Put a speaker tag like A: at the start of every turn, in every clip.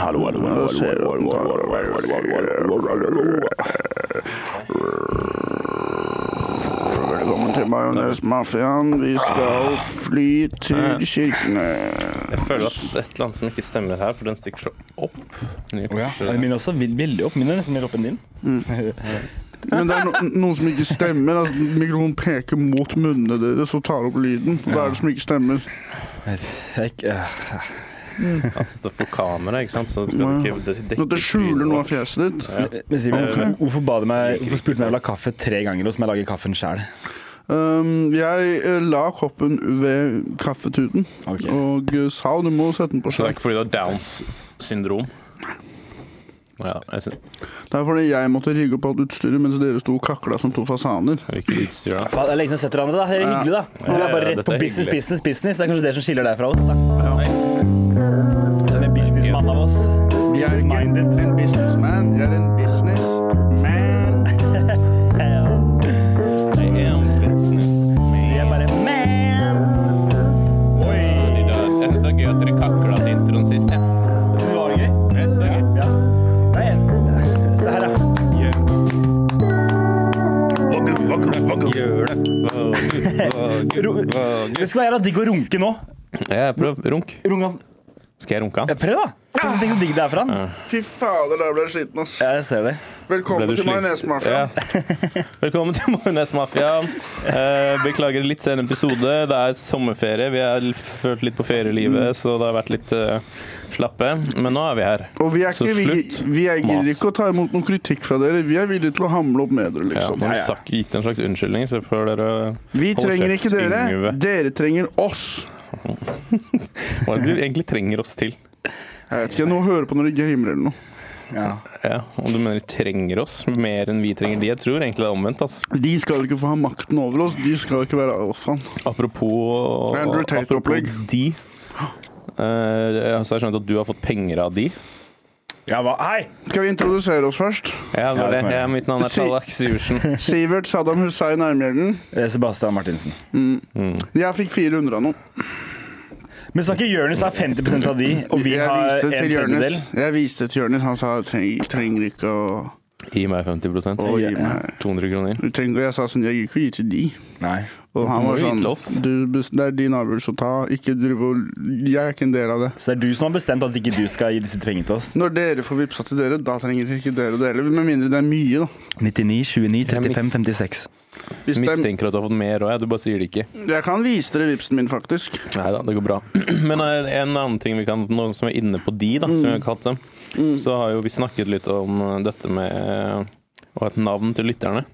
A: Hallo, hallo, hallo, hallo, hallo, hallo, hallo, hallo, hallo, hallo, hallo. Velkommen til Majones Mafiaen. Vi skal fly til Kirkenes.
B: Jeg føler at det er et eller annet som ikke stemmer her, for den stikker så opp. Nye
C: Ja,
B: kurser.
C: Min er også vil- veldig opp. Min er nesten mer opp enn din.
A: Men det er no noe som ikke stemmer. Altså, mikrofonen peker mot munnene deres og tar opp lyden. Hva er det som ikke stemmer?
C: Jeg, jeg,
B: At det får kamera, ikke sant? Så det skal ikke de- dekke
A: Dette skjuler noe av fjeset ditt.
C: men Simon, hvorfor, hvorfor, ba du meg, hvorfor spurte du meg om Eh, jeg vil ha kaffe tre ganger, og så må jeg lage kaffen sjæl?
A: Um, jeg eh, la koppen ved kaffetuten
C: Ok.
A: og eh, sa du må sette den på
B: Så det er
A: slakk.
B: ikke fordi du har Downs syndrom? Ja, jeg sy-
A: Det er fordi jeg måtte rigge opp alt utstyret mens dere sto og kakla som to fasaner.
B: Hvilket utstyr da?
C: Det er lenge siden vi har sett hverandre. da. Det er hyggelig, da. Du er
B: Ja,
C: bare
B: ja,
C: rett
B: dette
C: på
B: er
C: business,
B: hyggelig.
C: business, business. Det er kanskje det som skiller deg fra oss. da.
B: Nei,
C: Du er en businessmann av oss.
A: Jeg er ikke
C: Business-minded.
A: en businessman, jeg er en businessman.
B: I am business
C: Eh, Vi er
B: man.
C: bare man. Oi.
B: De der- Jeg synes det er gøy at dere kakla til introen sist. Ja.
C: Det var gøy.
B: Det er så gøy.
C: Ja. Nei, jeg- Se her, da.
B: Gjør det. Våg, våg,
C: Ro-
B: våg.
C: Det skal være jævla digg å runke nå.
B: Ja, prøv. Runk.
C: Runka.
B: Skal jeg runke han?
C: Prøv, da. Tenk så- Tenk så digg det er for han.
A: Fy fader, der ble jeg sliten, ass.
C: Ja, jeg ser det.
A: Velkommen til
B: slik-
A: Majonesmafia.
B: Ja. Velkommen til Majonesmafiaen. Eh, beklager litt sen episode. Det er sommerferie. Vi har følt litt på ferielivet, så det har vært litt eh, slappe. Men nå er vi her.
A: Og vi er
B: Så
A: ikke vi,
B: slutt
A: vi er
B: mas.
A: gidder ikke å ta imot noen kritikk fra dere. Vi er villige til å hamle opp med dere,
B: Ja,
A: liksom.
B: nå har vi
C: Ja, ja.
B: sagt- gitt en slags unnskyldning, så får dere eh,
A: Vi
B: Hold
A: trenger
B: kjeft,
A: ikke dere.
B: Yngve.
A: Dere trenger oss.
B: Hva er det du egentlig trenger oss til?
A: Jeg vet ikke, nå hører på når de gamer eller noe.
C: Ja.
B: Ja, Om du mener de trenger oss mer enn vi trenger de? Jeg tror egentlig det er omvendt. Altså.
A: De skal ikke få ha makten over oss. De skal ikke være alfaen.
B: Apropos,
A: Andrew Tate
B: apropos
A: opplegg.
B: de. Eh, så har jeg skjønt at du har fått penger av de.
C: Ja, hva? Hei!
A: Skal vi introdusere oss først?
B: Ja, det var
C: det
B: det.
C: kan jeg.
B: Ja, mitt navn er
A: Si-
B: Tallak Syversen.
A: Sivert Saddam Hussein Armgjelden.
C: Eh, Sebastian Martinsen.
A: Jeg fikk 400 av noen.
C: Men snakker Jonis har 50 av de, og vi
A: jeg
C: har en
A: viste til Jonis.
C: tredjedel.
A: Jeg viste til Jonis. Han sa treng, trenger ikke å,
B: Gi meg 50
A: å gi meg
B: 200 kroner.
A: du trenger, og Jeg sa sånn, jeg gir ikke å gi til de.
C: Nei.
A: Og han
B: må
A: var
B: jo gi
A: sånn
B: til oss.
A: du, bes- Det er din avgjørelse å ta. Ikke drive og Jeg er ikke en del av det.
C: Så det er du som har bestemt at ikke du skal gi disse pengene til oss?
A: Når dere får vippsa til dere, da trenger ikke dere å dele. Med mindre det er mye, da.
C: 99, 29,
B: 35,
C: 56.
A: Hvis det er,
B: Mistenker at du har fått mer òg, du bare sier det ikke.
A: jeg kan vise dere vipsen min, faktisk.
B: Nei da, det går bra. Men eh, en annen ting vi kan, nå som vi er inne på de, da, som vi har kalt dem, så har jo vi snakket litt om eh, dette med eh, å ha et navn til lytterne.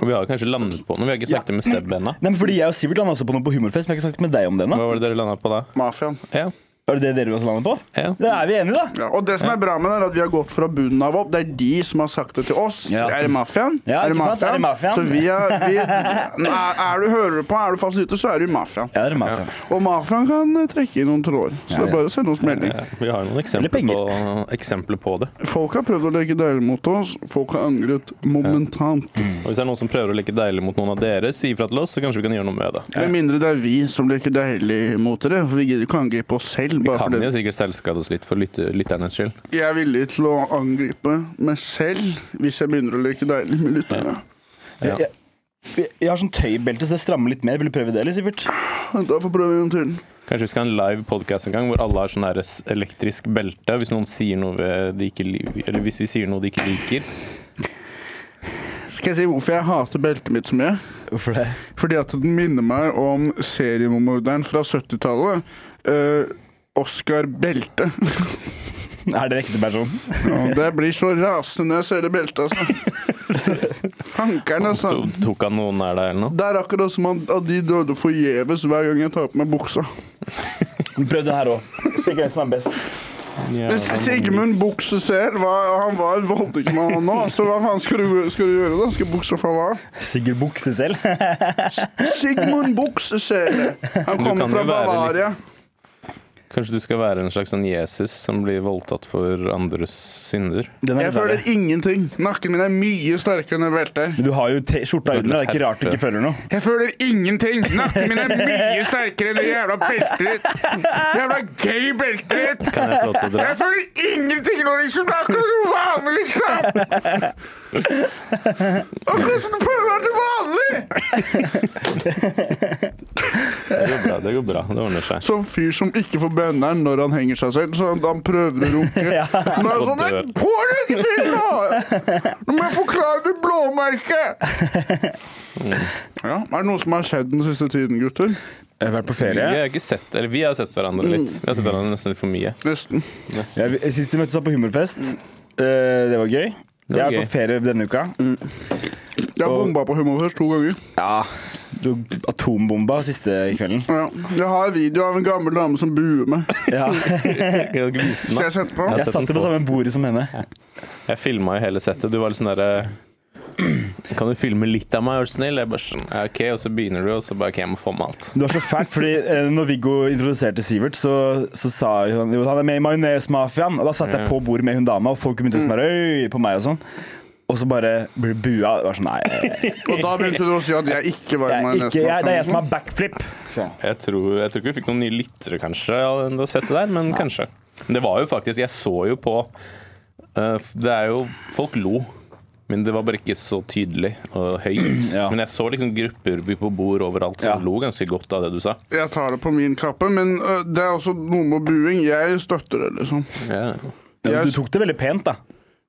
B: Og vi har kanskje landet på noe. Vi har ikke snakket med Seb ennå.
C: Nei, men fordi Jeg og Sivert landa også på noe på Humorfest, men jeg har ikke snakket med deg om det ennå.
B: Hva var det dere landa på da?
A: Mafiaen.
B: Ja.
C: Er det det dere også landet på?
B: ja.
C: Da er vi enige, da.
A: Ja, og det som er bra med det, er at vi har gått fra bunnen av opp. Det er de som har sagt det til oss.
C: Ja.
A: Er det mafiaen?
C: Ja,
A: er det
C: ikke sant? Er det mafiaen?
A: Så vi er, vi, Nei, er du hører på, er du fast lytter, så er du mafiaen.
C: Ja, det er mafia.
A: Og mafiaen kan eh, trekke i noen tråder. Så det
C: ja.
A: er bare å sende oss melding.
B: Ja, Vi har noen eksempler
C: penger.
B: på, eksempler på det.
A: Folk har prøvd å leke deilig mot oss. Folk har angret momentant.
B: Og Hvis det er noen som prøver å leke deilig mot noen av dere, si ifra til oss, så kanskje vi kan gjøre noe med det.
A: Med mindre det er vi som leker deilig mot dere. For vi gidder ikke å angripe oss selv.
B: Vi
A: Bare
B: kan
A: fordi
B: jo sikkert selvskade oss litt for lytte, lytternes skyld.
A: jeg er villig til å angripe meg selv hvis jeg begynner å leke deilig med lytterne.
B: Ja.
C: Jeg, jeg, jeg har sånn tøybelte, så det strammer litt mer. Vil du prøve det, eller, Sivert?
A: Da får vi prøve en gang til.
B: Kanskje vi skal ha en live podcast en gang hvor alle har sånn her s- elektrisk belte. Hvis noen sier noe ved- de ikke liker, eller hvis vi sier noe de ikke liker.
A: Skal jeg si hvorfor jeg hater beltet mitt så mye?
C: Hvorfor det?
A: Fordi at den minner meg om seriemorderen fra 70-tallet. eh, Oscar Belte.
C: Er det ekte person?
A: Og det blir så rasende når jeg ser det beltet, altså. Fankeren, altså.
B: Så tok han noen nær deg eller noe?
A: Det er akkurat som at at de døde forgjeves hver gang jeg tar på meg buksa.
C: Prøv den her òg. Sjekk hvem som er best.
A: Men Sigmund Buksesel, var- han var en voldtektsmann han nå, så hva faen skal du, skal du gjøre da? Skal buksa falle av?
C: Sigurd bukse selv.
A: Sigmund Buksesel! Han
B: kan
A: kommer
B: jo
A: fra
B: være litt-
A: Bavaria.
B: Kanskje du skal være en slags sånn Jesus som blir voldtatt for andres synder?
C: Den er
A: Jeg
C: litt verre.
A: føler ingenting. Nakken min er mye sterkere enn jeg velter.
C: Men Du har jo te- skjorta under, det er ikke rart du ikke føler noe.
A: Jeg føler ingenting! Nakken min er mye sterkere enn det jævla beltet ditt! Jævla gay beltet ditt!
B: Kan jeg få lov til å dra?
A: Jeg føler ingenting nå, liksom! Det er akkurat som vanlig, liksom! Akkurat som du prøver å være til vanlig!
B: Det går bra, det går bra. Det ordner seg.
A: Sånn fyr som ikke får bønneren når han henger seg selv, så han, han prøver å runke. Men det er sånn, det går ikke til nå! Nå må jeg forklare det blåmerket! Ja, er det noe som har skjedd den siste tiden, gutter?
C: Jeg har vært på
B: Vi
C: ferie.
B: har ikke sett, eller vi har sett hverandre litt. Vi har sett hverandre nesten litt for mye.
A: Nesten.
B: Nesten.
C: Jeg, sist vi møttes var på humorfest. Eh, det var gøy.
B: var
C: Jeg har vært
B: gøy.
C: på ferie denne uka.
A: Jeg har
C: Og-
A: bomba på humorfest to ganger.
C: Ja, du atombomba siste kvelden.
A: Ja. Jeg har en video av en gammel dame som buer meg.
C: Ja.
B: Jeg kan ikke vise den,
A: Skal
B: da.
A: jeg sette på?
B: Ja.
C: Jeg satt jo på samme bordet som henne.
B: Jeg filma jo hele settet. Du var litt sånn derre Kan du filme litt av meg, er du snill? Jeg bare sånn, ja, OK, og så begynner du, og så bare OK, jeg må få med alt.
C: Det var så fælt, fordi eh, når Viggo introduserte Sivert, så, så sa jo han jo han er med i Majonesmafiaen. Og da satt jeg på bordet med hun dama, og folk begynte å smøre øy på meg og sånn. Og så bare blir det bua. Det var sånn, nei, jeg,
A: Og da begynte du å si at jeg ikke var
C: jeg,
A: med
C: ikke,
A: nesten.
C: jeg, det er jeg som har backflip.
B: Jeg tror, jeg tror ikke vi fikk noen nye lyttere, kanskje, av det settet der, men kanskje. Det var jo faktisk Jeg så jo på eh, Det er jo Folk lo, men det var bare ikke så tydelig og høyt.
C: Ja.
B: Men jeg så liksom grupper på bord overalt som
C: Ja.
B: lo ganske godt av det du sa.
A: Jeg tar det på min kappe, men øh, det er også noe med buing. Jeg støtter det, liksom.
C: Ja, men
A: Jeg-
C: du tok det veldig pent, da.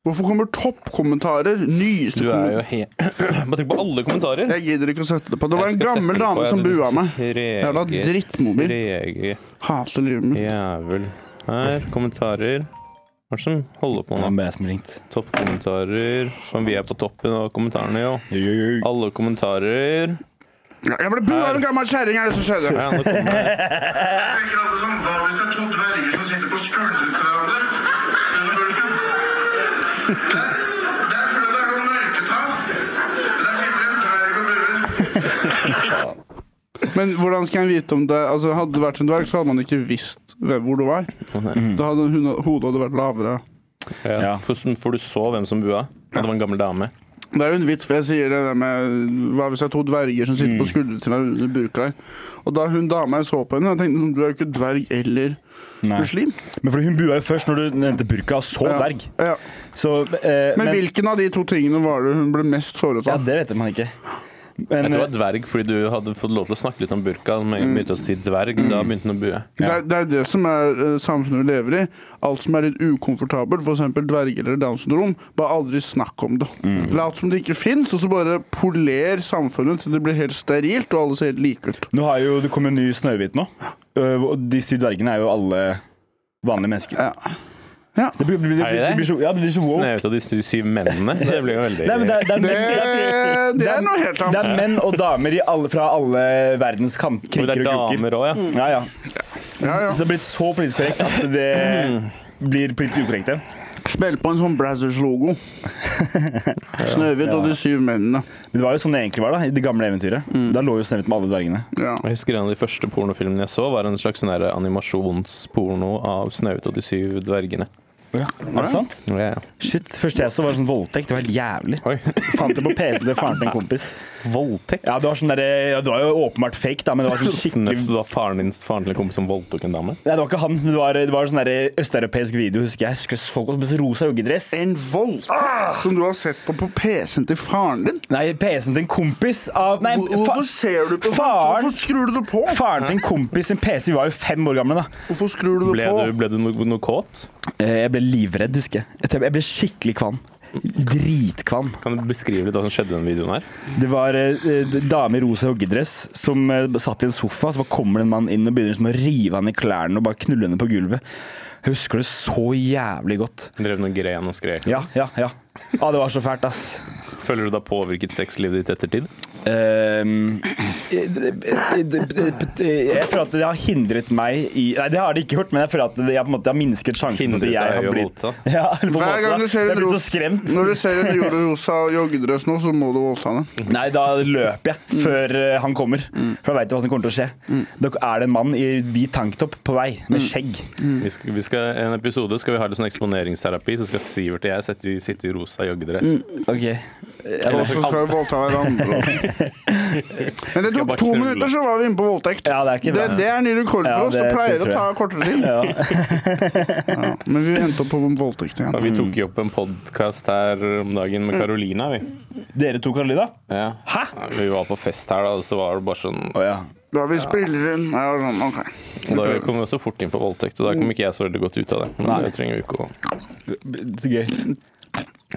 A: Hvorfor kommer toppkommentarer? Nyeste
B: Du
A: kommentarer?
B: er jo he... Bare tenk på alle kommentarer.
A: Jeg gidder ikke å sette det på. Det var en gammel dame som bua meg. Jævla drittmobil.
B: Trege
A: Hater livet mitt.
B: jævel. Her, kommentarer. Hva er det som holder på
C: Det
B: nå?
C: var jeg som ringte.
B: Toppkommentarer. Som vi er på toppen av kommentarene, jo.
C: Jo, jo, jo.
B: Alle kommentarer.
A: Ja, Jeg ble bua av en gammel kjerring, er det som skjedde.
B: Ja, nå kommer jeg.
D: Jeg tenker alle sammen, Hva hvis det er to dverger som sitter på skuldrene til hverandre under bulken? Der- Der tror jeg det er noen mørketall. Der sitter en dverg og buer.
A: Men hvordan skal jeg vite om det Altså, Hadde det vært en dverg, så hadde man ikke visst hvem, hvor det var. Da hadde hun, hodet hadde vært lavere.
B: Ja.
C: Mm. Ja.
B: For, for du så hvem som bua? Ja, Det var en gammel dame.
A: Det er jo en vits, for jeg sier det der med Hva hvis det er to dverger som sitter på skuldrene til hverandre under burka her? Og da hun dama jeg så på henne, jeg tenkte sånn, du er jo ikke dverg eller
C: Nei.
A: muslim.
C: Men fordi hun bua jo først når du nevnte burka, og så
A: Ja.
C: dverg.
A: Ja.
C: Så, eh,
A: Men, hvilken av de to tingene var det hun ble mest såret
C: Ja,
A: av?
C: det vet man ikke.
B: Jeg
C: Men
A: eh,
B: tror det var dverg fordi du hadde fått lov til å snakke litt om burka. Men jeg begynte å si dverg, da begynte han å bue.
A: Det, er, det er det som er eh, samfunnet vi lever i. Alt som er litt ukomfortabelt, f.eks. dverger eller Downs syndrom, bare aldri snakk om det. Lat som det ikke fins, og så bare poler samfunnet til det blir helt sterilt, og alle ser helt like ut.
C: nå har jo, det kommer en ny Snøhvit nå. Øh, Og de syv dvergene er jo alle vanlige mennesker.
A: Ja. Ja.
C: Det blir, blir, blir,
B: Er det det?
C: blir så, ja, det blir så woke.
B: Snaut av de sy- syv mennene. Det ble jo veldig
C: Nei, men det, er, det, er
A: Det,
C: menn,
A: det er noe helt
C: det
A: annet.
C: er menn og damer i alle, fra alle verdens kant,
B: Men det
C: kriker
B: er
C: og kroker.
B: damer òg, ja.
C: Ja, ja.
A: Ja, ja.
C: Så det er blitt så politisk korrekt at det
B: Mm.
C: blir politisk ukorrekt igjen.
A: Spill på en sånn Brazzers-logo. Snøhvit og de syv mennene.
C: Men Det var jo sånn det egentlig var da, i det gamle eventyret.
B: Mm.
C: Da lå jo Snøhvit med alle dvergene.
A: Ja.
B: Jeg husker En av de første pornofilmene jeg så, var en slags sånn her animasjonsporno av Snaut og de syv dvergene.
C: Er det sant?
B: Ja, ja.
C: Shit, Første jeg så, var en sånn voldtekt. Det var helt jævlig.
B: Oi.
C: Fant det på PC-en til faren til en kompis.
B: Voldtekt?
C: Ja, det var, sånn der, ja, det var jo åpenbart fake, da, men det var sånn skikkelig
B: Snøff var faren din faren til en kompis som voldtok en dame?
C: Nei, det var ikke han, men det var, det var sånn der østeuropeisk video, husker jeg. Jeg husker så godt, med så rosa joggedress.
A: En voldtekt som du har sett på på PC-en til faren din?
C: Nei, PC-en til en kompis av Nei,
A: Hvor- Hvorfor
C: fa
A: ser du på
C: faren-
A: Hvorfor skrur du det på?
C: faren til en kompis sin PC. Vi var jo fem år gamle, da.
A: Hvorfor skrur du det
B: Ble du,
A: på?
B: ble du noe, noe kåt?
C: Eh, Jeg ble livredd, husker jeg. Jeg tror- Jeg ble skikkelig kvalm. Dritkvalm.
B: Kan du beskrive litt hva som skjedde i den videoen her?
C: Det var eh, d- dame i rosa joggedress som eh, satt i en sofa, så bare kommer det en mann inn og begynner liksom å rive henne i klærne og bare knulle henne på gulvet. Jeg husker det så jævlig godt.
B: Hun Drev noen gren og skrek?
C: Ja, ja, ja. Ja, det var så fælt, ass.
B: Føler du da påvirket sexlivet ditt ettertid?
C: Ehm, Jeg føler at det har hindret meg i Nei, det har det ikke gjort, men jeg føler at det jeg på en måte har minsket sjansen for
B: Hindret
C: at jeg
B: deg i
C: har
B: å
C: blitt
B: voldta.
C: ja, eller på en
A: Hver
C: måte,
A: gang du
C: da.
A: ser
C: Jeg
A: en
C: har blitt så
A: ros-
C: skremt.
A: Når du ser en julerosa joggedress nå, så må du voldta den.
C: Nei, da løper jeg før eh, han kommer.
A: Mm.
C: For da veit jeg hva som kommer til å skje. Da er det en mann i hvit tanktopp på vei,
A: Mm.
C: med skjegg.
B: Vi skal, vi skal, en episode skal vi ha litt sånn eksponeringsterapi, så skal Sivert og jeg sitte, i- sitte i rosa joggedress.
C: Ok.
A: Og Mm. så skal vi voldta hverandre. Men det
B: Skal
A: tok
B: bare
A: to
B: knulle.
A: minutter, så var vi inne på voldtekt.
C: Ja, det er ikke
A: det,
C: bra.
A: det er ny rekord
C: Ja,
A: for oss.
C: det-
A: Det pleier
C: det
A: å
C: tror
A: ta kortere tid.
C: Ja.
A: Ja, men vi endte opp på voldtekt
B: Ja,
A: igjen.
B: Vi tok jo opp en podkast her om dagen
A: Mm.
B: med Carolina, vi.
C: Dere to, Karolina?
B: Ja. Ja, Vi var på fest her, da, og så var det bare sånn
C: Å ja.
A: Da vi spiller inn ja, sånn, ok.
B: Da kom vi så fort inn på voldtekt, og da
A: Mm.
B: kom ikke jeg så veldig godt ut av det. Men det trenger vi ikke å
C: Så gøy.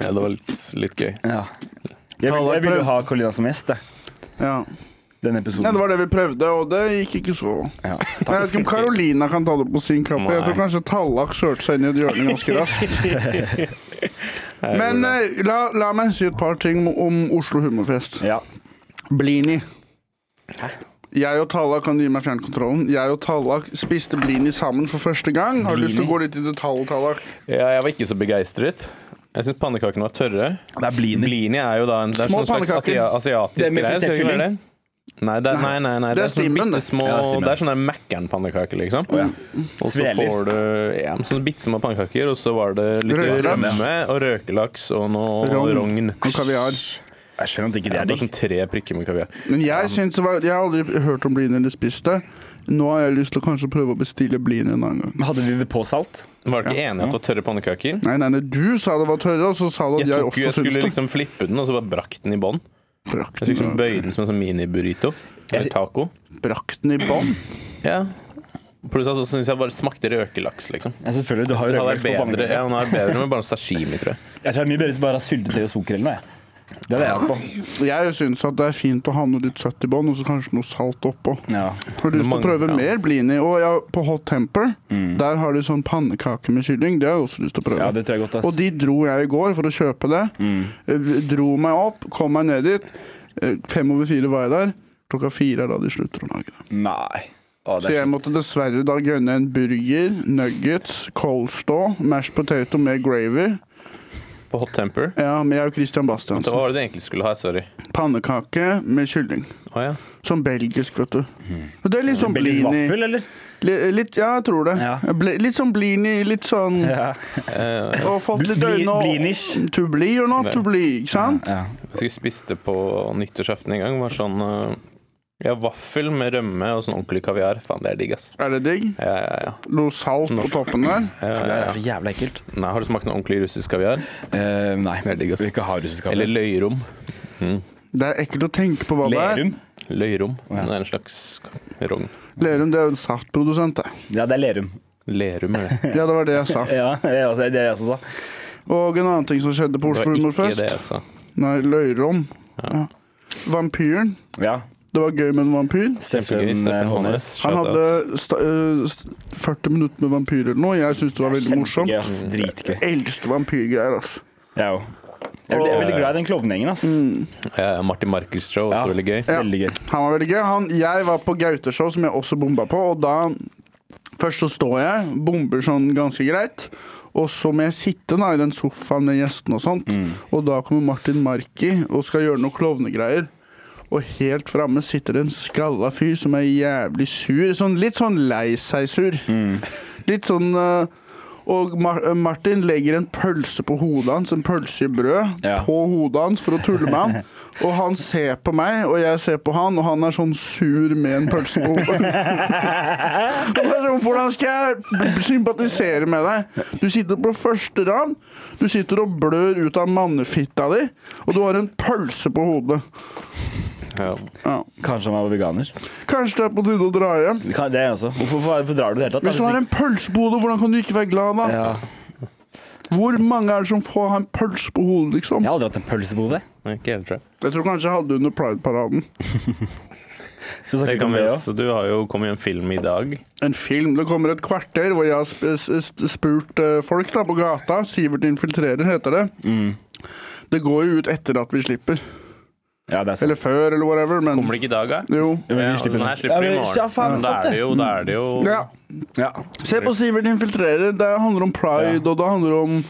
B: ja, Det var litt, litt gøy.
C: Ja. Jeg, vil, jeg vil jo ha Karolina som gjest, jeg.
A: Ja.
C: Den
A: ja,
C: episoden.
A: det var det vi prøvde, og det gikk ikke så.
C: Ja.
A: Men Jeg vet ikke om Carolina kan ta det på sin kappe. Jeg tror
B: Nei.
A: kanskje Tallak kjørte seg inn i et hjørne ganske raskt.
B: Jeg
A: Men
B: gjorde det.
A: eh, la, la meg si et par ting om Oslo Humorfest.
C: Ja.
A: Blini. Jeg og Tallak kan du gi meg fjernkontrollen. Jeg og Tallak spiste blini sammen for første gang. Har du lyst til å gå litt i detalj, Tallak?
B: ja, jeg var ikke så begeistret. Jeg syns pannekakene var tørre.
C: Det er Blini.
B: Blini er jo da en, det er
A: Små
B: sånn slags
A: pannekaker.
B: asia- asiatisk
C: Det er med
B: greier. Skal det ikke være
C: potetkylling.
B: det? Nei, det er, nei, nei, nei, det er sånne
A: stimen, det.
B: bittesmå
C: Ja, det er stimen.
B: Det er sånne Mækkern-pannekaker, liksom. Og så
C: Sveler.
B: får du ja, men sånne bittesmå pannekaker, og så var det litt
A: Rødlaks.
B: rømme og røkelaks og noe
A: Rogn.
B: rogn.
A: Og kaviar.
C: Jeg skjønner at ikke
B: Det
C: det er
B: er bare
C: digg.
B: sånn tre prikker med kaviar.
A: Men jeg syns det var Jeg har aldri hørt om blini eller spist det. Nå har jeg lyst til å kanskje prøve å bestille blini en annen gang.
C: Men Hadde vi det på salt?
B: Var det ikke enighet om tørre pannekaker?
A: Nei, nei, nei, du sa det var tørre, og så sa du at
B: Jeg,
A: jeg,
B: tok,
A: også
B: jo- jeg
A: syns
B: skulle
A: det.
B: liksom flippe den, og så bare brakk den i bånn.
A: Brakk
B: Jeg
A: den,
B: skulle liksom bøye den som en sånn mini-burrito. Eller taco.
A: brakk den i bånn.
B: Ja. Pluss at så syns jeg bare smakte røkelaks, liksom.
C: Ja, selvfølgelig. Du har
B: Det
C: jo
B: hadde vært
C: rødløk på
B: bedre, ja,
C: pannekaker.
B: den hadde vært bedre med bare sashimi, tror jeg.
C: Jeg tror det er mye bedre hvis du bare har syltetøy og sukker eller noe. jeg. Det hadde jeg hatt på.
A: Jeg syns at det er fint å ha noe litt søtt i bånn, og så kanskje noe salt oppå.
C: Ja.
A: Har du lyst til å
B: Mange-
A: prøve
B: ja.
A: mer blini? Og ja, på Hot Temper der har de sånn pannekake med kylling. Det har jeg også lyst til å prøve.
C: Mm. ja, det tror jeg godt, ass. Mm.
A: og de dro jeg i går for å kjøpe det. Eh, Dro meg opp, kom meg ned dit. Eh, Fem over fire var jeg der. Klokka fire er da de slutter å lage det.
C: Nei. Å,
A: Så
C: det er
A: jeg måtte dessverre da gønne en burger, nuggets, coleslaw, mashed potato med gravy.
B: På hot temper.
A: Ja, men jeg og Christian
B: Så
A: Bastiansen.
B: hva var det du egentlig skulle ha? Sorry.
A: Pannekake med kylling.
B: Å ja.
A: Sånn belgisk, vet du.
C: Mm.
A: Og det er litt sånn
C: Belgisk
A: blini.
C: vaffel, eller?
A: Li- Litt, ja, jeg tror det.
C: Ja.
A: Bli- Litt sånn blini, litt sånn
C: Ja.
B: Eh,
A: Og fått litt
C: Bli-
A: øyne og
C: blinish.
A: To bli or not
B: Nei.
A: to bli, ikke sant?
C: ja.
B: jeg husker jeg spiste på nyttårsaften en gang. Var sånn eh, ja, vaffel med rømme og sånn ordentlig kaviar. Faen, det er digg, ass.
A: Er det digg?
B: Ja, ja, ja.
A: Noe salt på
B: Norsk.
A: toppen der?
B: ja,
C: Det
B: ja,
C: er
B: ja.
C: så jævla ekkelt.
B: Nei, har du smakt noe ordentlig russisk kaviar?
C: Eh, nei.
B: Det er digg, ass.
C: Vil ikke ha russisk
B: Eller løyrom?
A: Det er ekkelt å tenke på hva det er.
C: Lerum.
B: Løyrom.
C: ja.
B: Det er en slags rogn.
A: Lerum det er jo en saftprodusent, det.
C: Ja, det er Lerum.
B: Lerum er det.
A: Ja, det var det jeg sa.
C: Ja, det er også- det er jeg også sa.
A: Og en annen ting som skjedde på
B: Det
A: Oslo
B: var ikke
A: Humorfest.
B: det altså. jeg sa.
A: Nei, Løyrom. Ja. Vampyren.
C: Ja.
A: Det var gøy med en vampyr.
B: Kjempegøy.
C: Steffen eh,
B: Steffen Hånes.
C: Hånes.
A: Han
B: Shout out.
A: hadde sta øh, st 40 minutter med vampyrer eller noe. Jeg syns det var veldig morsomt.
C: Kjempegøy, ass. Dritgøy.
A: Eldste vampyrgreier, altså.
C: Jeg òg. Jeg er veldig- jeg er veldig glad i den klovnegjengen, ass.
B: ja, ja, Martin Markels-show, også
C: Ja.
B: veldig gøy.
A: Mm, Ja.
C: Veldig gøy.
A: Han var veldig gøy. Han, jeg var på Gaute-show, som jeg også bomba på. Og da Først så står jeg, bomber sånn ganske greit. Og så må jeg sitte da, i den sofaen med gjestene og sånt. Og da kommer Martin Marki og skal gjøre noe klovnegreier. Og helt framme sitter det en skalla fyr som er jævlig sur. Sånn, litt sånn lei seg-sur. Litt sånn eh, Og Mar Martin legger en pølse på hodet hans, en pølse i brød,
C: Ja.
A: på hodet hans for å tulle med han. Og han ser på meg, og jeg ser på han, og han er sånn sur med en pølse på hodet. Og det er sånn, Hvordan skal jeg sympatisere med deg? Du sitter på første rad. Du sitter og blør ut av mannefitta di, og du har en pølse på hodet.
B: Ja.
A: Ja.
C: Kanskje han var veganer.
A: Kanskje det er på tide å dra hjem.
C: Det kan- det er jeg også. Hvorfor, hvorfor drar du det hele tatt? da?
A: Hvis du har en pølse på hodet, hvordan kan du ikke være glad da?
C: ja.
A: Hvor mange er det som får ha en pølse på hodet, liksom?
C: Jeg har aldri hatt en pølse på hodet.
B: Ikke helt, tror jeg.
A: Jeg tror kanskje jeg hadde under Pride-paraden.
C: Skal vi
B: Det
C: snakke litt
B: kan
C: om
B: vi
C: det òg?
B: også. Du har jo kommet i en film i dag.
A: En film. Det kommer et kvarter hvor jeg har sp s- s- spurt eh, folk da på
B: Mm.
A: gata. Sivert infiltrerer, heter det. Det går jo ut etter at vi slipper.
C: Ja, det er sant.
A: Eller før, eller whatever. Men
B: Kommer det ikke i dag, da?
A: Jo.
C: Jo, men vi
B: Ja,
C: slipper
B: den
C: den.
B: her slipper
C: Ja,
B: i
C: men-
B: morgen.
C: ja, faen,
B: da
C: sant
B: er
C: det.
B: det jo, da er det jo
A: Ja.
C: Ja.
A: Se på Sivert infiltrerer. Det handler om pride, og det handler om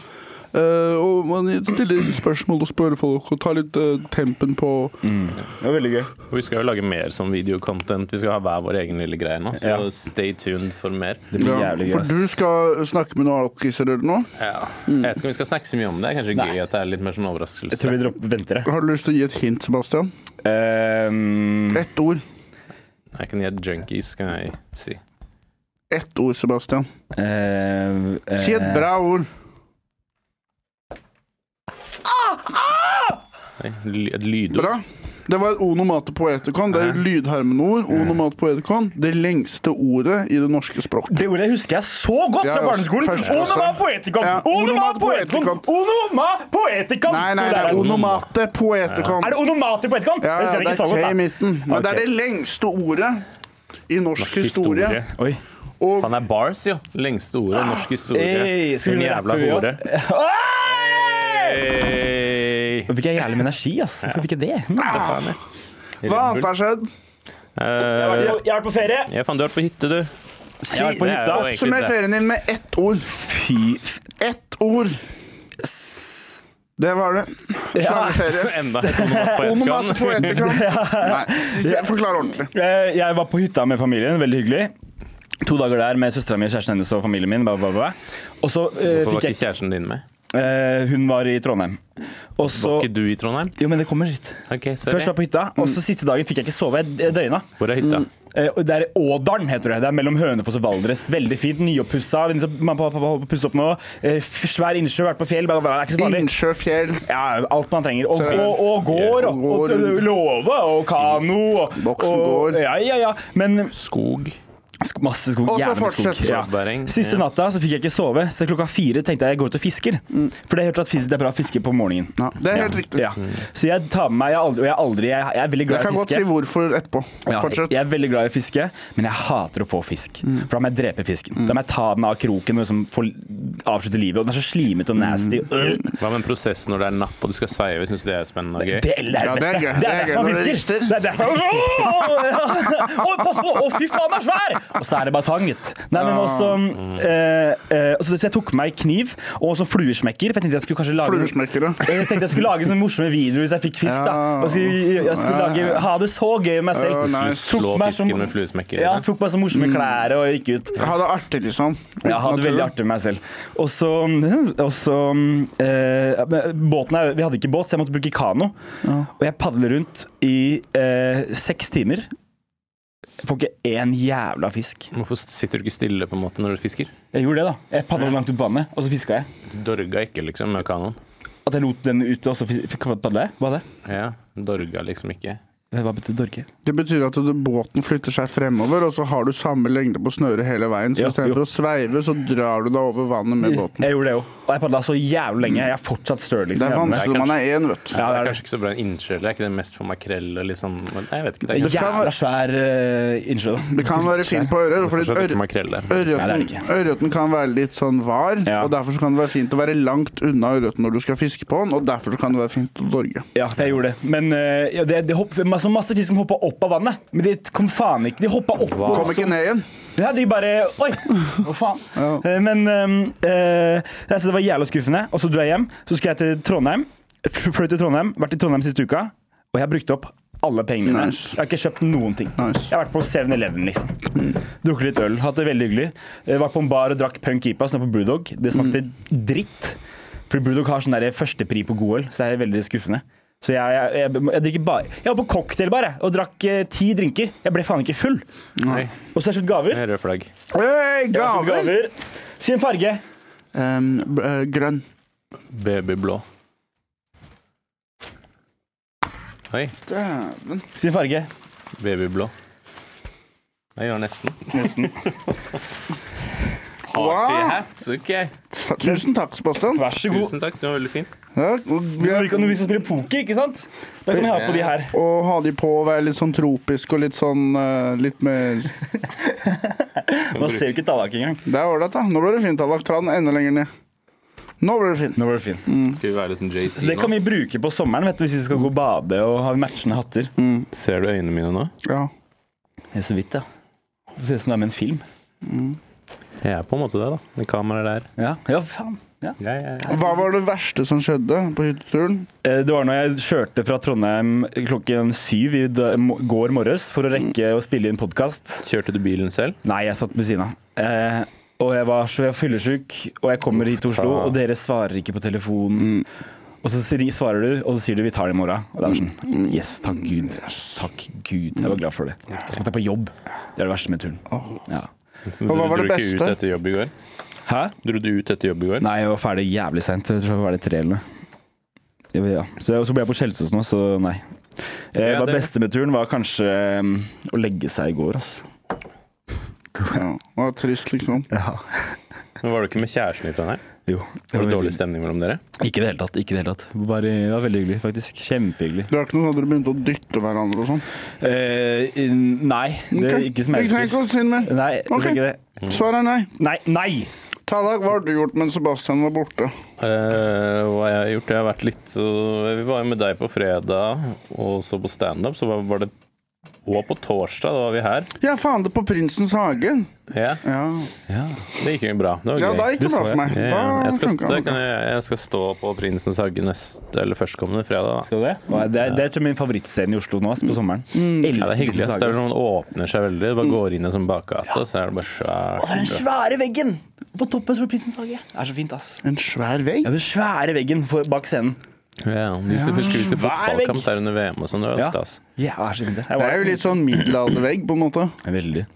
A: eh, å man stille spørsmål og spørre folk og ta litt eh, tempen på
C: Det var veldig gøy.
B: Og Vi skal jo lage mer sånn videocontent. Vi skal ha hver vår egen lille greie nå, så
C: Ja.
B: stay tuned for mer.
C: Det blir
A: ja.
C: jævlig gøy.
A: For
C: ass.
A: du skal snakke med noen alkiser eller noe?
B: Ja. Jeg vet ikke om vi skal snakke så mye om det. Det er Kanskje
C: Nei.
B: gøy at det er litt mer sånn
C: Jeg tror
B: overraskelse.
C: vi dropper venter, jeg.
A: Har du lyst til å gi et hint, Sebastian?
C: Ehm,
A: Ett ord.
B: Jeg kan gi et junkies, kan jeg si.
A: Ett ord, Sebastian.
C: ehm, eh,
A: Si et bra ord.
B: Nei, ly- Et lydord.
A: Bra. Det var et onomatopoetikon.
C: Eh.
A: Det er
B: Ja.
A: lydhermenord. Onomatopoetikon. Det lengste ordet i det norske språk.
C: Det ordet husker jeg så godt
A: Ja,
C: fra
A: ja,
C: barneskolen.
A: første klasse.
C: Onoma poetikon!
A: Ja,
C: Onoma
A: onomat
C: poetikon! Onoma poetikon!
A: Nei, nei,
C: Så
A: det
C: der
A: er
C: er-
A: onomatopoetikon.
C: Er det onomati
A: Ja,
C: poetikon? det
A: ja,
C: husker jeg
A: det
C: ikke så
A: er K i
C: godt, da.
A: midten. Men det
C: Ok.
A: er det lengste ordet i norsk historie.
B: Historie.
C: Oi.
A: Og
B: Han er bars, jo. Lengste ordet i norsk historie.
C: Hey, skal vi
B: Hun jævla
C: rappe, vi også?
B: hore. Hey!
C: Nå fikk jeg jævlig med energi, ass. Hvorfor fikk jeg det?
A: hva annet har skjedd?
B: Eh,
C: Jeg har vært på ferie.
B: Ja, faen, du har vært på hytte, du.
C: Jeg har vært på
B: Det er
C: hytta.
B: jo egentlig
A: Summer
B: det.
A: ferien din med ett ord.
C: Fy
A: Ett ord. Det var det. Slangeferie.
B: Enda et onomat på etterkant.
A: Onomatopoetikon. Nei, forklar ordentlig.
C: Eh, Jeg var på hytta med familien, veldig hyggelig. To dager der med søstera mi, kjæresten hennes og familien min. Bla, bla, bla. Og så eh,
B: Hvorfor var
C: fikk
B: ikke
C: jeg
B: kjæresten din med?
C: eh, Hun var i Trondheim. Og så
B: Var ikke du i Trondheim?
C: Jo, men det kommer litt.
B: Ok, sorry.
C: Først var jeg på hytta, og så siste dagen fikk jeg ikke sove. Jeg d- døgna.
B: Hvor er hytta?
C: Eh, og Det er Ådalen, heter det. Det er mellom Hønefoss og Valdres. Veldig fint. Nyoppussa. Mamma og pappa holder på å pusse opp nå. Eh, f- Svær innsjø, vært på fjell. bla, bla, bla. Det er ikke så farlig.
A: Innsjøfjell.
C: Ja, alt man trenger. Og, og, og gård, og,
A: Og
C: og,
A: gård.
C: låve, og kano. Og,
A: Voksen
C: og-
A: gård.
C: Ja, ja, ja. Men
B: Skog.
C: sk masse skog.
A: Og så
C: Jævlig skog.
A: fortsett.
C: Ja.
B: Oppbæring,
C: Siste
B: ja.
C: natta så fikk jeg ikke sove, så klokka fire tenkte jeg jeg går ut og fisker. For det er hørt at fisk, det er bra å fiske på morgenen.
A: Mm. Ja, det er helt riktig.
C: Ja. Så jeg tar med meg jeg, har aldri, og jeg, har aldri, jeg, jeg er veldig
A: Jeg
C: glad i
A: kan
C: å
A: godt si
C: fiske.
A: hvorfor etterpå.
C: Ja,
A: Fortsett. Mm.
C: jeg er veldig glad i å fiske, men jeg hater å få fisk. For da må jeg drepe fisken. Da må jeg ta den av kroken og liksom få avslutte livet. Og den er så slimete og nasty.
A: Mm.
C: Øh.
B: Hva med en prosess når det er napp og du skal sveive? Syns du det er spennende og gøy?
C: Det er det
A: Ja, det er
C: beste.
A: gøy.
C: Det
A: Det er gøy
C: er
A: når
C: derfor han
A: det
C: fisker.
A: rister.
C: Det er derfor Åh, Åh, pass på! Å, fy faen, den er svær! Og så er det bare tang, gitt. Nei, men også eh, eh, så det- Så jeg tok med meg kniv og også fluesmekker, for jeg tenkte jeg skulle kanskje lage
A: Fluesmekkere.
C: jeg tenkte jeg skulle lage sånne morsomme videoer hvis jeg fikk fisk. da
A: Ja.
C: Og skulle, Jeg skulle lage, ha det så gøy med meg selv.
A: Ja, nei.
C: Tok
B: Slå
C: meg
B: fisken med fluesmekker.
C: Ja, tok meg så morsomme klær og gikk ut.
A: Jeg hadde artig, liksom.
C: Ja, jeg hadde det veldig
A: Naturlig.
C: artig med meg selv. Og så og så, eh, men båten er, Vi hadde ikke båt, så jeg måtte bruke kano. Og jeg padler rundt i eh, seks timer. Jeg får ikke én jævla fisk.
B: Hvorfor sitter du ikke stille på en måte når du fisker?
C: Jeg gjorde det, da. Jeg padla langt ut på vannet, og så fiska jeg.
B: Du dorga ikke liksom med kanoen.
C: At jeg lot den ute, og så fis- fikk padla jeg? Hva er det?
B: Ja, dorga liksom ikke.
C: Hva betyr dorke?
A: Det betyr at du- båten flytter seg fremover, og så har du samme lengde på snøret hele veien. Så
C: Ja,
A: istedenfor
C: jo.
A: å sveive, så drar du deg over vannet med båten.
C: Jeg gjorde det òg. Og jeg padla så jævlig lenge. Jeg er fortsatt støl,
A: Det
C: liksom.
A: er vanskelig når man er én, vet du.
B: det
C: Ja, det
B: er
C: er det.
B: kanskje ikke så bra en innsjø. Det er ikke det mest for makrell og litt sånn Nei, Jeg vet ikke. Det er
C: En
B: kanskje
C: Jævla svær eh, innsjø, da.
A: Det kan være fint på ørret, fordi
B: fortsatt ikke
A: ør-
B: makrell der.
A: ørreten-
C: Nei, det er det ikke.
A: ørreten kan være litt sånn var,
C: Ja.
A: og derfor så kan det være fint å være langt unna ørreten når du skal fiske på den, og derfor så kan det være fint å dorge.
C: Ja, jeg gjorde det. Men eh, ja, det, det hopp, masse, masse fisk som hoppa opp av vannet. Men de kom faen ikke. De hoppa opp.
B: Hva?
C: og
A: Kom
C: så-
A: ikke ned igjen.
C: Ja, de bare Oi! Hva faen?
A: Ja.
C: Eh, Men eh, eh, altså, Det var jævla skuffende. Og så dro jeg hjem. Så skulle jeg til Trondheim. F- Fløy til Trondheim. Vært i Trondheim siste uka. Og jeg har brukt opp alle pengene mine.
A: Nice.
C: Jeg har ikke kjøpt noen ting.
A: Nice. Mm.
C: Jeg har vært på 7-Eleven, liksom. Drukket litt øl. Hatt det veldig hyggelig. Eh, var på en bar og drakk Punk Ipa, som er på Brewdog. Det smakte
A: Mm.
C: dritt. Fordi Brewdog har sånn der førstepri på god øl, så det er veldig skuffende. Så jeg, jeg, jeg, jeg drikker bare Jeg var på cocktailbar jeg, og drakk eh, ti drinker. Jeg ble faen ikke full.
B: Nei,
C: Og så har jeg kjøpt gaver.
B: det er rød flagg.
A: Hey,
C: Jeg har fått
A: gaver!
C: gaver. Si en farge.
A: Em, b- eh, grønn.
B: Babyblå. Oi.
A: Dæven.
C: Si en farge.
B: Babyblå. Jeg gjør nesten.
C: Nesten.
B: Party hat, ok.
A: Ta- Tusen takk, Sebastian.
C: Vær så god.
B: Tusen takk, det var veldig fint.
A: Ja, og vi
C: Når
A: er,
C: vi kan- når vi skal spille poker, ikke sant? Da kan vi ha på de her.
A: og ha de på å være litt sånn tropisk og litt sånn eh, litt mer
C: Man ser jo ikke tallak engang.
A: Det er ålreit, da. Nå blir det fint, Allak. Ta den enda lenger ned. Nå ble det fint.
C: Nå var det fint.
B: Skal vi være litt sånn JC
C: Så det kan
B: nå?
C: vi bruke på sommeren vet du, hvis vi skal gå og bade og ha matchende hatter.
B: Ser du øynene mine nå?
A: Ja.
C: Det er så vidt, ja. Det ser ut som det er med en film.
B: Jeg er på en måte det, da. Det kameraet der.
C: Ja, ja faen. Ja.
B: Jeg, jeg,
A: Hva var det verste som skjedde på hytteturen?
C: Eh, Det var når jeg kjørte fra Trondheim klokken syv i da- mo- går morges for å rekke å spille inn podkast.
B: Kjørte du bilen selv?
C: Nei, jeg satt ved siden av. Eh, og jeg var så jeg var fyllesyk, og jeg kommer hit til Oslo, og dere svarer ikke på
B: Mm.
C: telefonen. Og så sier- svarer du, og så sier du 'vi tar det i morgen'. Og det er
B: Mm.
C: sånn Yes, takk Gud. Takk Gud. Jeg var glad for det. Og så måtte jeg på jobb. Det er det verste med turen. Ja.
B: Og
A: hva var det
B: Du dro ikke
A: beste?
B: ut etter jobb i går?
C: Hæ?
B: Dro du ut etter jobb i går?
C: Nei, jeg var ferdig jævlig seint. Jeg tror jeg var ferdig tre eller noe. Jeg vet- Ja. Så, så ble jeg på Kjelsås nå, så nei. Eh,
B: Ja,
C: hva
B: det-
C: beste med turen var kanskje mm, å legge seg i går, altså.
A: Ja, det var trist, liksom.
C: Ja.
B: Men var du ikke med kjæresten din? Nei?
C: Jo.
B: Var det
C: veldig-
B: dårlig stemning mellom dere?
C: Ikke i det hele tatt. ikke i Det hele tatt. Bare, det var veldig hyggelig, faktisk. Kjempehyggelig.
A: Det er ikke noe sånn at dere begynte å dytte hverandre og sånn?
C: Eh, in- nei, det er
A: Ok. Ikke
C: ikke
A: tenk
C: smertespill.
A: å si det mer.
C: Nei, det er
A: Ok.
C: ikke det.
A: Svaret er nei.
C: Nei! nei!
A: Tallak, hva har du gjort mens Sebastian var borte?
B: Eh, hva jeg har gjort? Jeg har vært litt så, Vi var jo med deg på fredag, og så på standup. Så var, var det Og på torsdag, da var vi her.
A: Ja, faen det på Prinsens hage.
B: Ja,
A: Ja,
B: Det gikk jo bra. Det var
A: ja
B: gøy.
A: da gikk det bra for meg.
B: Ja, ja.
A: Da
B: Jeg, skal,
A: funket
B: det
A: det.
B: kan jeg, jeg skal stå på Prinsens hage neste eller førstkommende fredag. Da.
C: Skal du det? Nei, Det er, det er tror jeg, min favorittscene i Oslo nå, ass, på sommeren. Elsker
B: Ja, det er hyggelig.
C: disse
B: ass. Det er
C: sagene.
B: sånn, åpner seg veldig. Du bare går inn i en sånn bakgate, så er det bare
C: Og så
B: svært.
C: er den svære veggen på toppen fra Prinsens hage. Det er så fint, ass.
A: En svær vegg?
C: Ja, den svære veggen for, bak scenen.
B: Ja, de ja. Husker hvis det er fotballkamp der under VM og sånn. Det var
C: Ja.
B: stas.
C: Ja, det er så fint.
A: Det er jo litt sånn middelaldervegg, på en måte.
C: Veldig.